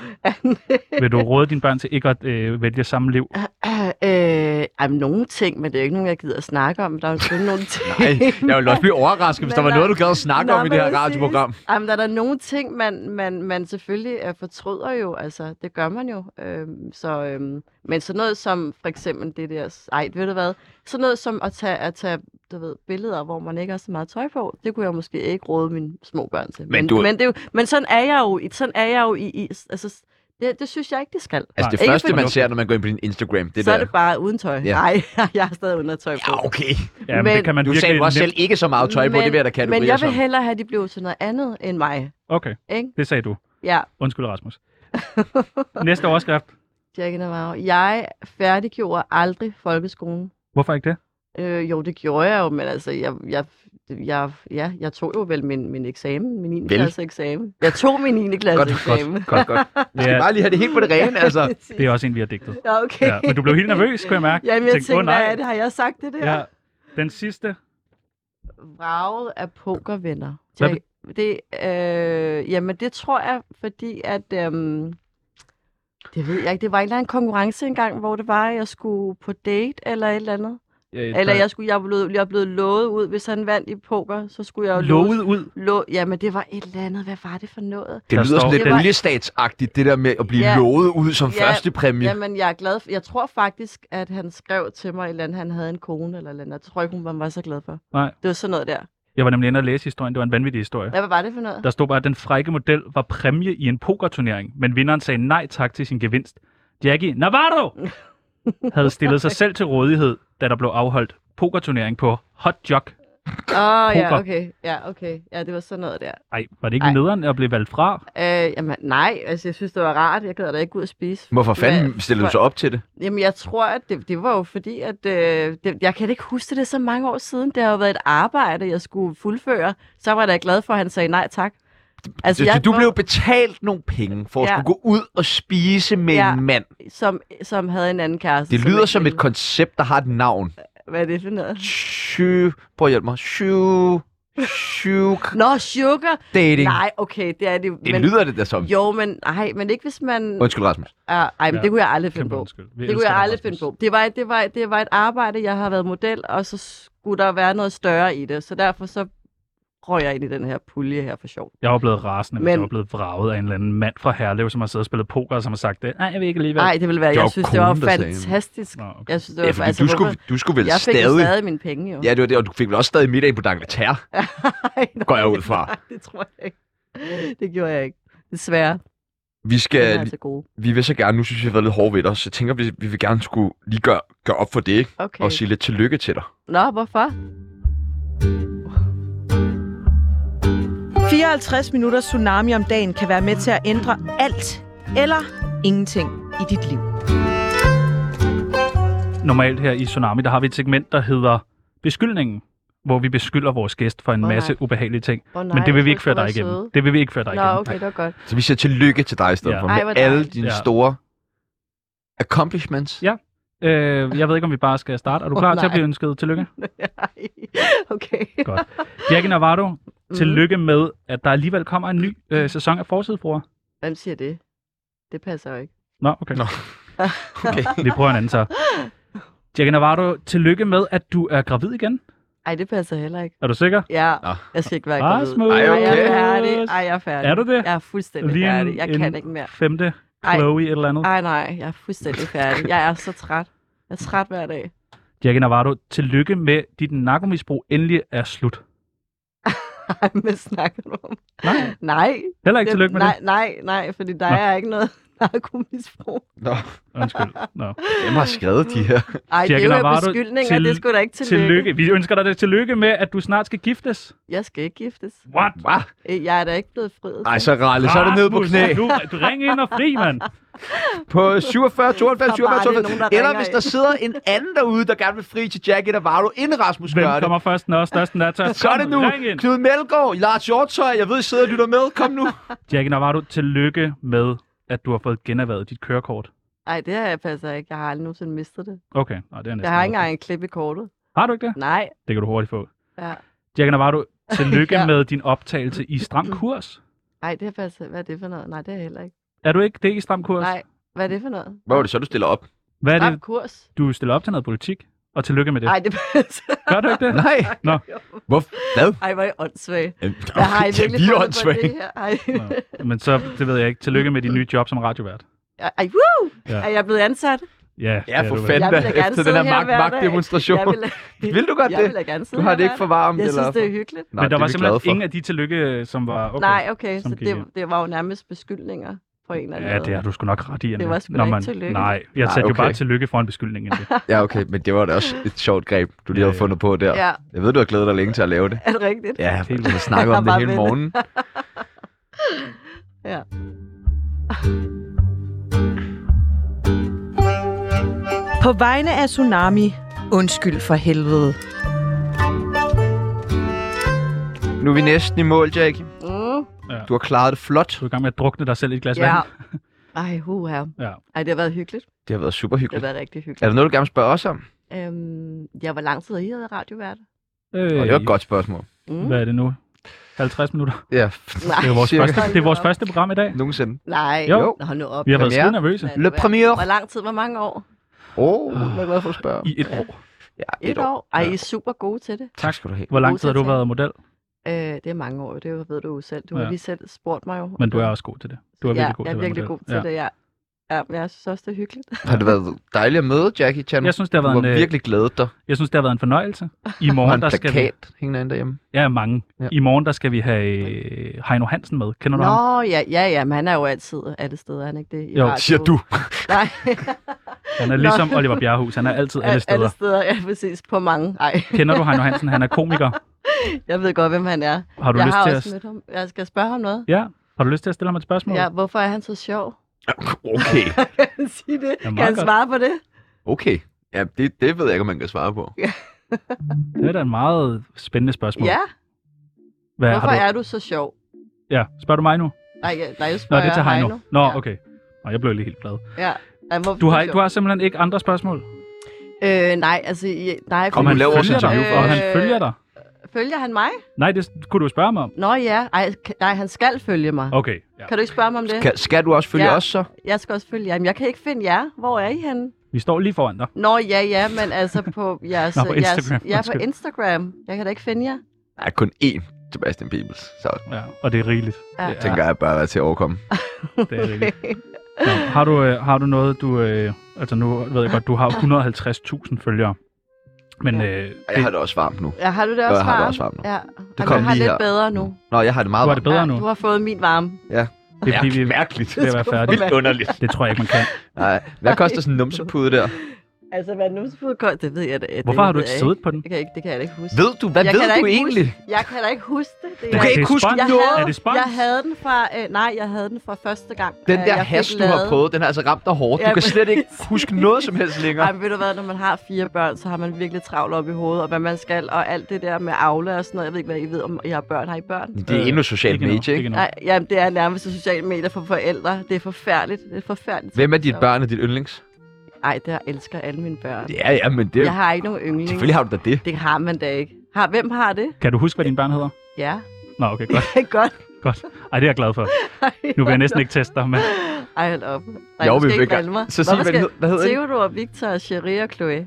Speaker 5: Vil du råde dine børn til ikke at øh, vælge samme liv?
Speaker 1: øh, jamen, nogle ting, men det er jo ikke nogen, jeg gider at snakke om. Der er jo selvfølgelig nogle ting.
Speaker 2: Nej, jeg ville også blive overrasket, hvis
Speaker 1: Men
Speaker 2: der var
Speaker 1: der-
Speaker 2: noget, du gad at snakke
Speaker 1: Nå,
Speaker 2: om i det her
Speaker 1: præcis.
Speaker 2: radioprogram.
Speaker 1: Jamen, der er der nogle ting, man, man, man selvfølgelig øh, fortryder jo. Altså, det gør man jo. Øhm, så, øhm, men sådan noget som for eksempel det der... Ej, ved du hvad? Sådan noget som at tage, at tage du ved, billeder, hvor man ikke har så meget tøj på. Det kunne jeg måske ikke råde mine små børn til.
Speaker 2: Men du-
Speaker 1: men, det er jo, men sådan er jeg jo, i- sådan er jeg jo i... i altså, det, det synes jeg ikke, det skal.
Speaker 2: Altså det
Speaker 1: Ikke
Speaker 2: første,
Speaker 1: fordi-
Speaker 2: man ser, når man går ind på din Instagram, det
Speaker 1: så
Speaker 2: der.
Speaker 1: er det bare uden tøj.
Speaker 2: Ja.
Speaker 1: Ja. Nej, jeg har stadig undertøj på.
Speaker 2: Ja, okay.
Speaker 5: Ja, men, men det kan man
Speaker 2: Du
Speaker 5: virkelig
Speaker 2: sagde jo også selv
Speaker 5: nemt-
Speaker 2: ikke så meget tøj på, det vil jeg da kategorisere
Speaker 1: Men jeg vil
Speaker 2: som.
Speaker 1: hellere have, at de blev til noget andet end mig.
Speaker 5: Okay,
Speaker 1: Ikke?
Speaker 5: det sagde du.
Speaker 1: Ja.
Speaker 5: Undskyld, Rasmus. Næste overskrift.
Speaker 1: Jack in the Wow. Jeg færdiggjorde aldrig folkeskolen.
Speaker 5: Hvorfor ikke det?
Speaker 1: Øh, jo, det gjorde jeg jo, men altså, jeg, jeg, jeg, ja, jeg tog jo vel min, min eksamen, min 9.
Speaker 2: Vel.
Speaker 1: klasse eksamen. Jeg tog min 9. klasse eksamen.
Speaker 2: godt, godt, godt. Vi skal bare lige have det helt på det rene, altså.
Speaker 5: Det er også en, vi har digtet.
Speaker 1: Ja, okay.
Speaker 5: Ja, men du blev helt nervøs, kunne jeg mærke.
Speaker 1: Jamen, jeg
Speaker 5: Tænkte,
Speaker 1: tænkte,
Speaker 5: "Åh, nej."
Speaker 1: hvad er det? Har jeg sagt det der?
Speaker 5: Ja. Den sidste.
Speaker 1: Vraget af pokervenner.
Speaker 5: Hvad
Speaker 1: Jack, det, øh, jamen, det tror jeg, fordi at... Øhm, det ved jeg ikke. Det var en eller anden konkurrence engang, hvor det var, at jeg skulle på date eller et eller andet.
Speaker 5: Øh,
Speaker 1: Eller
Speaker 5: der-
Speaker 1: jeg, skulle, jeg, blev, jeg blev lovet ud, hvis han vandt i poker, så skulle jeg jo
Speaker 5: Lovet ud?
Speaker 1: Lo, jamen, det var et eller andet. Hvad var det for noget?
Speaker 2: Det lyder sådan lidt
Speaker 1: var-
Speaker 2: oliestatsagtigt, det der med at blive
Speaker 1: Ja.
Speaker 2: lovet ud som første præmie.
Speaker 1: Jamen, jeg er glad for, Jeg tror faktisk, at han skrev til mig, et eller andet, han havde en kone eller et eller andet. Jeg tror ikke, hun var så glad for.
Speaker 5: Nej.
Speaker 1: Det var sådan noget der.
Speaker 5: Jeg var nemlig inde og læse historien. Det var en vanvittig historie.
Speaker 1: Hvad var det for noget?
Speaker 5: Der stod bare, at den frække model var præmie i en pokerturnering, men vinderen sagde nej tak til sin gevinst. Jackie Navarro havde stillet sig selv til rådighed, da der blev afholdt pokerturnering på Hot Jog.
Speaker 1: Åh, oh,
Speaker 5: Poker.
Speaker 1: ja, okay. Ja, okay. Ja, det var sådan noget der.
Speaker 5: Ej, var det ikke nederen at blive valgt fra?
Speaker 1: Øh, jamen, nej, altså, jeg synes, det var rart. Jeg gad da ikke ud at spise.
Speaker 2: Hvorfor fanden
Speaker 1: Hvad-
Speaker 2: stillede du så op til det?
Speaker 1: Jamen, jeg tror, at det, det var jo fordi, at øh, det, jeg kan ikke huske det, det er så mange år siden. Det har jo været et arbejde, jeg skulle fuldføre. Så var jeg da glad for, at han sagde nej tak.
Speaker 2: Altså, du, du blev betalt nogle penge for at
Speaker 1: Ja.
Speaker 2: skulle gå ud og spise med
Speaker 1: Ja.
Speaker 2: en mand.
Speaker 1: som, som havde en anden kæreste.
Speaker 2: Det lyder
Speaker 1: ikke
Speaker 2: som et
Speaker 1: ville-
Speaker 2: koncept, der har et navn.
Speaker 1: Hvad er det for noget?
Speaker 2: Syv... Prøv at hjælpe mig. Syv... Syv...
Speaker 1: Nå, sugar.
Speaker 2: Dating.
Speaker 1: Nej, okay, det er det.
Speaker 2: Det lyder det da som.
Speaker 1: Jo, men nej, men ikke hvis man...
Speaker 2: Undskyld, Rasmus.
Speaker 1: Ah, ej, men
Speaker 2: Ja,
Speaker 1: det kunne jeg aldrig finde
Speaker 2: kæmpe
Speaker 1: på.
Speaker 2: undskyld. Vi
Speaker 1: Det kunne
Speaker 2: elsker
Speaker 1: jeg
Speaker 2: dig,
Speaker 1: aldrig finde på. Det var, det, var, det var et arbejde, jeg har været model, og så skulle der være noget større i det. Så derfor så røg jeg ind i den her pulje her for sjov.
Speaker 5: Jeg var blevet rasende, men...
Speaker 1: Men-
Speaker 5: jeg var blevet vraget af en eller anden mand fra Herlev, som har siddet og spillet poker, og som har sagt det. Nej, jeg vil ikke alligevel.
Speaker 1: Nej, det ville være, jeg synes, det var fantastisk.
Speaker 5: Nå, okay.
Speaker 1: Jeg synes, det
Speaker 2: Ja,
Speaker 1: var altså,
Speaker 2: fordi du skulle,
Speaker 1: hvorfor-
Speaker 2: du skulle vel
Speaker 1: jeg fik
Speaker 2: stadig...
Speaker 1: jo stadig mine penge, jo.
Speaker 2: Ja, det var det, og du fik vel også stadig middag på D'Angleterre. Går jeg ud fra.
Speaker 1: Nej, det tror jeg ikke. Det gjorde jeg ikke. Desværre.
Speaker 2: Vi
Speaker 1: Den
Speaker 2: skal...
Speaker 1: er altså god.
Speaker 2: vi vil så gerne... Nu synes vi, vi har været lidt hårde ved dig, så jeg tænker, vi, vi vil gerne skulle lige gøre, gøre op for det, ikke?
Speaker 1: Okay.
Speaker 2: Og sige lidt tillykke til dig.
Speaker 1: Nå, hvorfor?
Speaker 6: 54 minutter tsunami om dagen kan være med til at ændre alt eller ingenting i dit liv.
Speaker 5: Normalt her i Tsunami, der har vi et segment, der hedder Beskyldningen, hvor vi beskylder vores gæst for en
Speaker 1: Åh, nej.
Speaker 5: masse ubehagelige ting.
Speaker 1: Åh, nej,
Speaker 5: men det vil vi
Speaker 1: jeg
Speaker 5: ikke føre
Speaker 1: troede,
Speaker 5: dig
Speaker 1: du var
Speaker 5: igennem.
Speaker 1: søde.
Speaker 5: Det vil vi ikke føre dig
Speaker 1: Nå,
Speaker 5: igennem.
Speaker 1: okay, det var godt.
Speaker 2: Så vi siger tillykke til dig i stedet
Speaker 5: Ja.
Speaker 2: ja. for.
Speaker 1: Ej,
Speaker 2: Med
Speaker 1: hvor
Speaker 2: alle
Speaker 1: dejligt.
Speaker 2: dine
Speaker 5: Ja.
Speaker 2: ja. store accomplishments.
Speaker 5: Ja. Øh, jeg ved ikke, om vi bare skal starte. Er du
Speaker 2: Åh,
Speaker 5: klar oh, til at
Speaker 2: nej.
Speaker 5: blive ønsket? Tillykke.
Speaker 1: Okay. Mm,
Speaker 5: Godt. Jackie Navarro,
Speaker 1: Mhm.
Speaker 5: tillykke med, at der alligevel kommer en ny øh, sæson af Forsidebruger.
Speaker 1: Hvem siger det? Det passer jo ikke.
Speaker 5: Nå, okay. Nå. okay. Vi prøver en anden så. Jackie Navarro, tillykke med, at du er gravid igen.
Speaker 1: Ej, det passer heller ikke.
Speaker 5: Er du sikker?
Speaker 1: Ja, jeg skal ikke være gravid.
Speaker 5: Rasmus!
Speaker 1: Ej, jeg er færdig. Ej, jeg er færdig.
Speaker 5: Er du det?
Speaker 1: Jeg er fuldstændig
Speaker 5: Lige en-
Speaker 1: færdig. Jeg kan
Speaker 5: en
Speaker 1: ikke mere.
Speaker 5: femte
Speaker 1: Ej.
Speaker 5: Chloe et eller andet.
Speaker 1: Ej, nej, jeg er fuldstændig færdig. Jeg er så træt. Jeg er træt hver dag.
Speaker 5: Jackie Navarro, tillykke med, at dit narkomisbrug endelig er slut.
Speaker 1: Ej, hvad snakker du om?
Speaker 5: Nej.
Speaker 1: Nej.
Speaker 5: Heller ikke tillykke med
Speaker 1: nej,
Speaker 5: det?
Speaker 1: Nej, nej, fordi der
Speaker 5: Nå.
Speaker 1: er ikke noget narkomisbrug.
Speaker 2: Nå.
Speaker 5: Undskyld. Nå.
Speaker 2: Hvem har skrevet de her?
Speaker 1: Ej, det er jo beskyldninger, det skulle da ikke tillykke.
Speaker 5: tillykke. Vi ønsker dig det tillykke med, at du snart skal giftes.
Speaker 1: Jeg skal ikke giftes.
Speaker 5: What?
Speaker 2: Hvad?
Speaker 1: Øh, Jeg er da ikke blevet friet.
Speaker 2: Ej, så Ralle, så er det ned på
Speaker 5: Rasmus,
Speaker 2: knæ.
Speaker 5: Du, du ringer ind og fri, mand.
Speaker 2: På 47, 92,
Speaker 1: Der er bare
Speaker 2: 97,
Speaker 1: lige nogen, der
Speaker 2: 92. Eller
Speaker 1: ringer
Speaker 2: hvis
Speaker 1: ind.
Speaker 2: der sidder en anden derude, der gerne vil fri til Jackie Navarro, inden Rasmus
Speaker 5: Hvem
Speaker 2: gør det.
Speaker 5: kommer først, når størsten er tørst?
Speaker 2: Så er det nu.
Speaker 5: Ring ind.
Speaker 2: Knud Melgaard, Lars Hjortøj, jeg ved, I sidder og lytter med. Kom nu.
Speaker 5: Jackie Navarro, tillykke med, at du har fået generværet dit kørekort.
Speaker 1: Nej, det her passer ikke. Jeg har aldrig nogensinde mistet det.
Speaker 5: Okay, Nå, det er næsten.
Speaker 1: Jeg har ikke
Speaker 5: okay.
Speaker 1: engang en klip i kortet.
Speaker 5: Har du ikke det?
Speaker 1: Nej.
Speaker 5: Det kan du hurtigt få.
Speaker 1: Ja.
Speaker 5: Jack Navarro, tillykke
Speaker 1: Ja. Mm.
Speaker 5: ja. med din optagelse i Stram Kurs.
Speaker 1: Nej, det er faktisk... Hvad er det for noget? Nej, det er jeg heller ikke.
Speaker 5: Er du ikke det i Stram Kurs?
Speaker 1: Nej, hvad er det for noget?
Speaker 2: Hvad var det så, du stiller op?
Speaker 5: Hvad er
Speaker 1: Stram
Speaker 5: det?
Speaker 1: Kurs?
Speaker 5: Du stiller op til noget politik, og tillykke med det.
Speaker 1: Nej, det passer.
Speaker 5: Gør du ikke det?
Speaker 2: Nej.
Speaker 5: Nå.
Speaker 2: Hvor? Hvad?
Speaker 1: Ej, hvor er I åndssvage.
Speaker 2: Jamen,
Speaker 1: Hvad har I
Speaker 2: ja,
Speaker 1: virkelig
Speaker 2: vi er
Speaker 1: fundet på
Speaker 2: åndssvage.
Speaker 1: det her? Ej,
Speaker 5: Men så, det ved jeg ikke. Tillykke med din nye job som radiovært.
Speaker 1: Ej woo!
Speaker 5: Ja.
Speaker 1: Er jeg blevet ansat?
Speaker 5: Ja,
Speaker 2: Ja,
Speaker 5: det er
Speaker 2: for
Speaker 5: du vel.
Speaker 1: Jeg
Speaker 2: fanden. da,
Speaker 1: vil da gerne
Speaker 2: efter den
Speaker 1: sidde
Speaker 2: her
Speaker 1: her
Speaker 2: magt-
Speaker 1: hver dag.
Speaker 2: magtdemonstration.
Speaker 1: Jeg vil,
Speaker 2: Vil du godt
Speaker 1: jeg
Speaker 2: det?
Speaker 1: Vil da gerne
Speaker 2: Du
Speaker 1: sidde
Speaker 2: har
Speaker 1: her
Speaker 2: det ikke
Speaker 1: hver
Speaker 2: for
Speaker 1: dag.
Speaker 2: varmt,
Speaker 1: Jeg
Speaker 2: eller
Speaker 1: synes, det er
Speaker 2: for-
Speaker 1: hyggeligt.
Speaker 2: Nej,
Speaker 5: Men der
Speaker 2: det er
Speaker 5: var
Speaker 2: vi
Speaker 5: simpelthen
Speaker 2: glade for.
Speaker 5: ingen af de tillykke, som var... Okay,
Speaker 1: Nej, okay,
Speaker 5: som
Speaker 1: så
Speaker 5: gik ind.
Speaker 1: det, det var jo nærmest beskyldninger på en eller anden
Speaker 5: Ja,
Speaker 1: måde.
Speaker 5: det har du sgu nok ret i, Anna.
Speaker 1: øh, Det var sgu da
Speaker 5: Når
Speaker 1: ikke
Speaker 5: man-
Speaker 1: tillykke.
Speaker 5: Nej, jeg
Speaker 2: Nej,
Speaker 5: satte jo
Speaker 2: okay.
Speaker 5: bare tillykke for en beskyldning. end det.
Speaker 2: Ja, okay, men det var da også et sjovt greb, du lige havde fundet på der.
Speaker 1: Ja.
Speaker 2: Jeg ved, du har glædet dig længe til at lave det.
Speaker 1: Er det rigtigt?
Speaker 2: Ja,
Speaker 5: Helt
Speaker 2: vi har
Speaker 5: vildt.
Speaker 2: snakket om det
Speaker 1: Bare
Speaker 2: hele
Speaker 1: vent.
Speaker 2: morgenen.
Speaker 1: ja.
Speaker 6: På vegne af Tsunami, undskyld for helvede.
Speaker 2: Nu er vi næsten i mål, Jack.
Speaker 1: Mm.
Speaker 5: Ja.
Speaker 2: Du har klaret det flot.
Speaker 5: Du er i gang med at drukne dig selv i et glas
Speaker 1: ja.
Speaker 5: vand.
Speaker 1: Ej, huha.
Speaker 5: Ja.
Speaker 1: Ej, det har været hyggeligt.
Speaker 2: Det har været super
Speaker 1: Det har
Speaker 2: hyggeligt.
Speaker 1: været rigtig
Speaker 2: Er
Speaker 1: hyggeligt.
Speaker 2: der noget, du gerne vil spørge os om?
Speaker 1: Øhm, ja, hvor lang tid har I været radiovært?
Speaker 5: Øh,
Speaker 2: Og det var et godt spørgsmål.
Speaker 1: Mm.
Speaker 5: Hvad er det nu? 50 minutter?
Speaker 2: Ja,
Speaker 1: Nej.
Speaker 5: Det er vores,
Speaker 2: Cirka.
Speaker 5: første, det er vores første program i dag.
Speaker 2: nogensinde.
Speaker 1: Nej,
Speaker 5: Jo.
Speaker 1: hold nu op.
Speaker 5: Vi har været
Speaker 2: Premiere.
Speaker 5: skide nervøse.
Speaker 1: Lad det
Speaker 2: Le
Speaker 1: være.
Speaker 2: premier.
Speaker 1: Hvor lang tid? Hvor mange år?
Speaker 2: Åh, oh, jeg er glad for at spørge.
Speaker 5: I et år.
Speaker 2: Ja,
Speaker 1: Et, år. Ej, I er super gode til det.
Speaker 2: Tak skal du have.
Speaker 5: Hvor lang tid har du
Speaker 1: Motortag.
Speaker 5: været model?
Speaker 1: Øh, det er mange år, det ved du jo selv. Du har
Speaker 5: Ja.
Speaker 1: lige selv spurgt mig jo.
Speaker 5: Men du er også god til det. Du er
Speaker 1: ja,
Speaker 5: virkelig god
Speaker 1: jeg
Speaker 5: til
Speaker 1: er
Speaker 5: at være
Speaker 1: virkelig god
Speaker 5: model.
Speaker 1: til
Speaker 5: Ja.
Speaker 1: det, ja. Ja, men jeg synes også, det er hyggeligt.
Speaker 2: Har det været dejligt at møde Jackie Chan?
Speaker 5: Jeg synes, det har været
Speaker 2: du
Speaker 5: en,
Speaker 2: har
Speaker 5: øh,
Speaker 2: virkelig glædet dig.
Speaker 5: Jeg synes, det har været en fornøjelse. I
Speaker 2: Og en
Speaker 5: morgen, der skal vi...
Speaker 2: plakat hængende an derhjemme.
Speaker 5: Ja, mange.
Speaker 2: Ja.
Speaker 5: I morgen, der skal vi have øh, Heino Hansen med. Kender du ham?
Speaker 1: Nå, ja, ja, ja, men han er jo altid alle steder, er han ikke det? I
Speaker 5: Jo,
Speaker 1: radioen?
Speaker 2: Siger du.
Speaker 1: Nej,
Speaker 5: Han
Speaker 1: Nå.
Speaker 5: er ligesom Oliver Bjerrehus. Han er altid alle
Speaker 1: alle
Speaker 5: steder.
Speaker 1: steder, ja, præcis, på mange. Ej,
Speaker 5: Kender du Heino Hansen? Han er komiker.
Speaker 1: jeg ved godt, hvem han er.
Speaker 5: Har du
Speaker 1: jeg
Speaker 5: lyst
Speaker 1: har
Speaker 5: til
Speaker 1: også
Speaker 5: at...
Speaker 1: mødt ham. Jeg skal spørge ham noget.
Speaker 5: Ja. Har du lyst til at stille ham et spørgsmål?
Speaker 1: Ja, hvorfor er han så sjov?
Speaker 2: Okay,
Speaker 1: Kan han sige det?
Speaker 5: Ja, meget
Speaker 1: kan han
Speaker 5: godt.
Speaker 1: svare på det?
Speaker 2: okay. Ja, det, det ved jeg ikke, om man kan svare på.
Speaker 5: Det er da en meget spændende spørgsmål.
Speaker 1: Ja,
Speaker 5: Hvad har
Speaker 1: hvorfor
Speaker 5: du...
Speaker 1: er du så sjov?
Speaker 5: Ja, spørger du mig nu?
Speaker 1: Nej, jeg- nej, jeg
Speaker 5: Nå,
Speaker 1: spørger
Speaker 5: det er til Heino. Nå,
Speaker 1: ja.
Speaker 5: okay. Nå, jeg blev lige helt glad.
Speaker 1: Ja. Ej, hvorfor
Speaker 5: Du har,
Speaker 1: er
Speaker 5: ikke, du har simpelthen ikke andre spørgsmål?
Speaker 1: sjov? Øh, nej, altså... I- Nej,
Speaker 2: Kom,
Speaker 5: Om
Speaker 1: fordi-
Speaker 5: han
Speaker 2: laver vores
Speaker 5: følger
Speaker 2: interview
Speaker 5: dig?
Speaker 2: for
Speaker 5: Om
Speaker 2: os.
Speaker 5: han følger dig?
Speaker 1: Følger han mig?
Speaker 5: Nej, det kunne du spørge mig om.
Speaker 1: Nå ja, Ej, k- nej, han skal følge mig.
Speaker 5: Okay, ja.
Speaker 1: Kan du ikke spørge mig om det?
Speaker 2: Kan, skal du også følge
Speaker 1: Ja.
Speaker 2: os så?
Speaker 1: Jeg skal også følge jer. Jamen, jeg kan ikke finde jer. Hvor er I henne?
Speaker 5: Vi står lige foran dig.
Speaker 1: Nå, ja, ja, men altså på jeres...
Speaker 5: Nå, på Instagram,
Speaker 1: Jeres, ja, på
Speaker 5: undskyld.
Speaker 1: Instagram. Jeg kan da ikke finde jer.
Speaker 2: Nej, kun én Sebastian Peebles. Så
Speaker 5: Ja, og det er rigeligt.
Speaker 1: Ja.
Speaker 5: Det,
Speaker 2: tænker
Speaker 5: er,
Speaker 2: jeg bare, at til at overkomme.
Speaker 5: det er rigeligt. Nå, har, du, øh, har du noget, du... Øh, altså nu ved jeg godt, du har 150.000 følgere. Men
Speaker 1: Ja.
Speaker 5: øh,
Speaker 2: Jeg har
Speaker 5: det,
Speaker 2: det også varmt nu.
Speaker 1: Ja, har du det
Speaker 2: Jeg
Speaker 1: også
Speaker 2: har det
Speaker 1: varmt?
Speaker 2: også varmt nu.
Speaker 1: Ja.
Speaker 2: Det
Speaker 1: Jamen,
Speaker 2: kom
Speaker 1: jeg har
Speaker 2: lige
Speaker 1: lidt
Speaker 2: her.
Speaker 1: bedre nu.
Speaker 2: Nå, jeg har det meget
Speaker 5: du har
Speaker 2: varmt.
Speaker 5: det bedre
Speaker 1: ja,
Speaker 5: nu.
Speaker 1: Du har fået min varme.
Speaker 5: Det er fordi, vi
Speaker 2: mærkeligt.
Speaker 5: er ved at være færdige.
Speaker 2: Vildt underligt.
Speaker 5: Det tror jeg ikke, man kan.
Speaker 2: Nej, hvad koster sådan en numsepude der?
Speaker 1: Altså, hvad nu så det ved jeg da. det
Speaker 5: Hvorfor har du
Speaker 1: ved
Speaker 5: ikke
Speaker 1: jeg
Speaker 5: siddet på den?
Speaker 1: Det kan, jeg ikke, det kan jeg da ikke huske.
Speaker 2: Ved du, hvad
Speaker 1: jeg
Speaker 2: jeg
Speaker 1: kan da
Speaker 2: ved du
Speaker 1: ikke
Speaker 2: egentlig?
Speaker 1: Huske, jeg kan da ikke huske det. det
Speaker 2: Du
Speaker 1: er-
Speaker 2: kan
Speaker 5: Er
Speaker 2: ikke
Speaker 5: Altså, det
Speaker 2: huske
Speaker 5: spons?
Speaker 1: jeg
Speaker 2: noget.
Speaker 1: havde,
Speaker 5: Er det spons?
Speaker 1: Jeg havde den fra, øh, nej, jeg havde den fra første gang.
Speaker 2: Den
Speaker 1: øh,
Speaker 2: der
Speaker 1: jeg fik
Speaker 2: has, du har
Speaker 1: lavet.
Speaker 2: prøvet, den har altså ramt dig hårdt. Du
Speaker 1: Ja,
Speaker 2: kan slet ikke
Speaker 1: præcis.
Speaker 2: huske noget som helst længere.
Speaker 1: Ej, men ved du hvad, når man har fire børn, så har man virkelig travlt op i hovedet, og hvad man skal, og alt det der med Aula og sådan noget. Jeg ved ikke, hvad I ved, om I har børn. Har I børn?
Speaker 2: Det er endnu socialt
Speaker 5: ikke endnu,
Speaker 2: medie, Øh, ikke?
Speaker 5: endnu.
Speaker 1: Nej, jamen, det er nærmest sociale medier for forældre. Det er forfærdeligt. Det er forfærdeligt.
Speaker 2: Hvem er dit børn og dit yndlings?
Speaker 1: Nej, der elsker alle mine børn.
Speaker 2: Ja, ja, men det...
Speaker 1: Jeg har ikke nogen yndling.
Speaker 2: Selvfølgelig har du da det.
Speaker 1: Det har man da ikke. Har, hvem har det?
Speaker 5: Kan du huske, hvad dine børn hedder?
Speaker 1: Ja,
Speaker 5: Nå, okay, godt.
Speaker 1: det er godt.
Speaker 5: godt. Ej, det er jeg glad for. Nu vil jeg næsten ikke teste dig, men...
Speaker 1: Ej, hold op. Nej,
Speaker 2: Jo,
Speaker 1: du skal
Speaker 2: vi
Speaker 1: ikke
Speaker 2: vil gerne-
Speaker 1: valde mig.
Speaker 2: Så sig,
Speaker 1: Hvorfor
Speaker 2: hvad
Speaker 1: skal-
Speaker 2: den hed- hvad hed den?
Speaker 1: Theodor, Victor, Cherie og Chloe.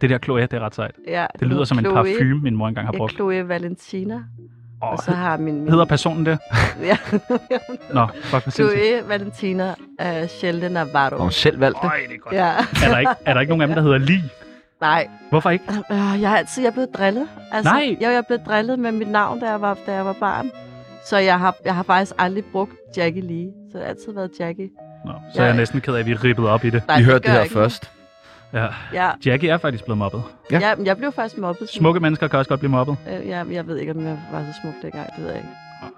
Speaker 5: Det der Chloe, det er ret sejt.
Speaker 1: Ja,
Speaker 5: Det lyder som en
Speaker 1: Chloe.
Speaker 5: parfume, min mor engang har
Speaker 1: Ja,
Speaker 5: brugt.
Speaker 1: Chloe Valentina.
Speaker 5: Åh,
Speaker 1: Og så har min... min
Speaker 5: hedder personen det?
Speaker 1: ja,
Speaker 5: Nå, fuck, hvad sindssygt.
Speaker 1: Chloe Valentina uh, Sheldon Navarro.
Speaker 2: Og hun selv valgte det.
Speaker 5: Øj, det er godt.
Speaker 1: Ja,
Speaker 5: Er der, ikke, er der ikke nogen af dem, der hedder Lee?
Speaker 1: nej.
Speaker 5: Hvorfor ikke?
Speaker 1: Øh, Jeg har altid jeg er blevet drillet. Altså,
Speaker 5: Nej.
Speaker 1: Jeg, jeg er blevet drillet med mit navn, da jeg var, da jeg var barn. Så jeg har, jeg har faktisk aldrig brugt Jackie Lee. Så det har altid været Jackie.
Speaker 5: Nå, så er jeg
Speaker 1: Ja.
Speaker 5: næsten ked af, at vi rippede op i det.
Speaker 1: Nej,
Speaker 2: I hørte
Speaker 1: gør
Speaker 2: det her
Speaker 1: ikke
Speaker 2: først.
Speaker 5: Ja.
Speaker 1: noget. Ja,
Speaker 5: Jackie er faktisk blevet mobbet.
Speaker 2: Ja.
Speaker 1: ja. ja men jeg blev faktisk mobbet. som-
Speaker 5: Smukke mennesker kan også godt blive mobbet.
Speaker 1: Øh, Jeg, jeg ved ikke, om jeg var så smuk dengang. Det ved jeg ikke.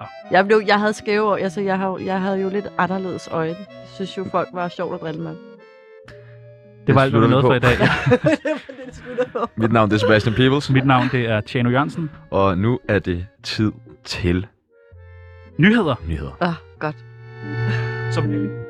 Speaker 5: Ah,
Speaker 1: Jeg, blev, jeg havde skæve øjne. Altså, jeg, havde, jeg havde jo lidt anderledes øjne. Jeg synes jo, folk var sjovt at drille med.
Speaker 5: Det var alt, hvad
Speaker 2: slutter
Speaker 5: vi
Speaker 2: vi
Speaker 5: nåede
Speaker 2: på.
Speaker 5: for i dag.
Speaker 1: det slutter på.
Speaker 2: Mit navn det er Sebastian Peebles.
Speaker 5: Mit navn det er Tjano Jørgensen.
Speaker 2: Og nu er det tid til
Speaker 5: Nyheder.
Speaker 2: nyheder.
Speaker 1: Ah, godt.
Speaker 5: Som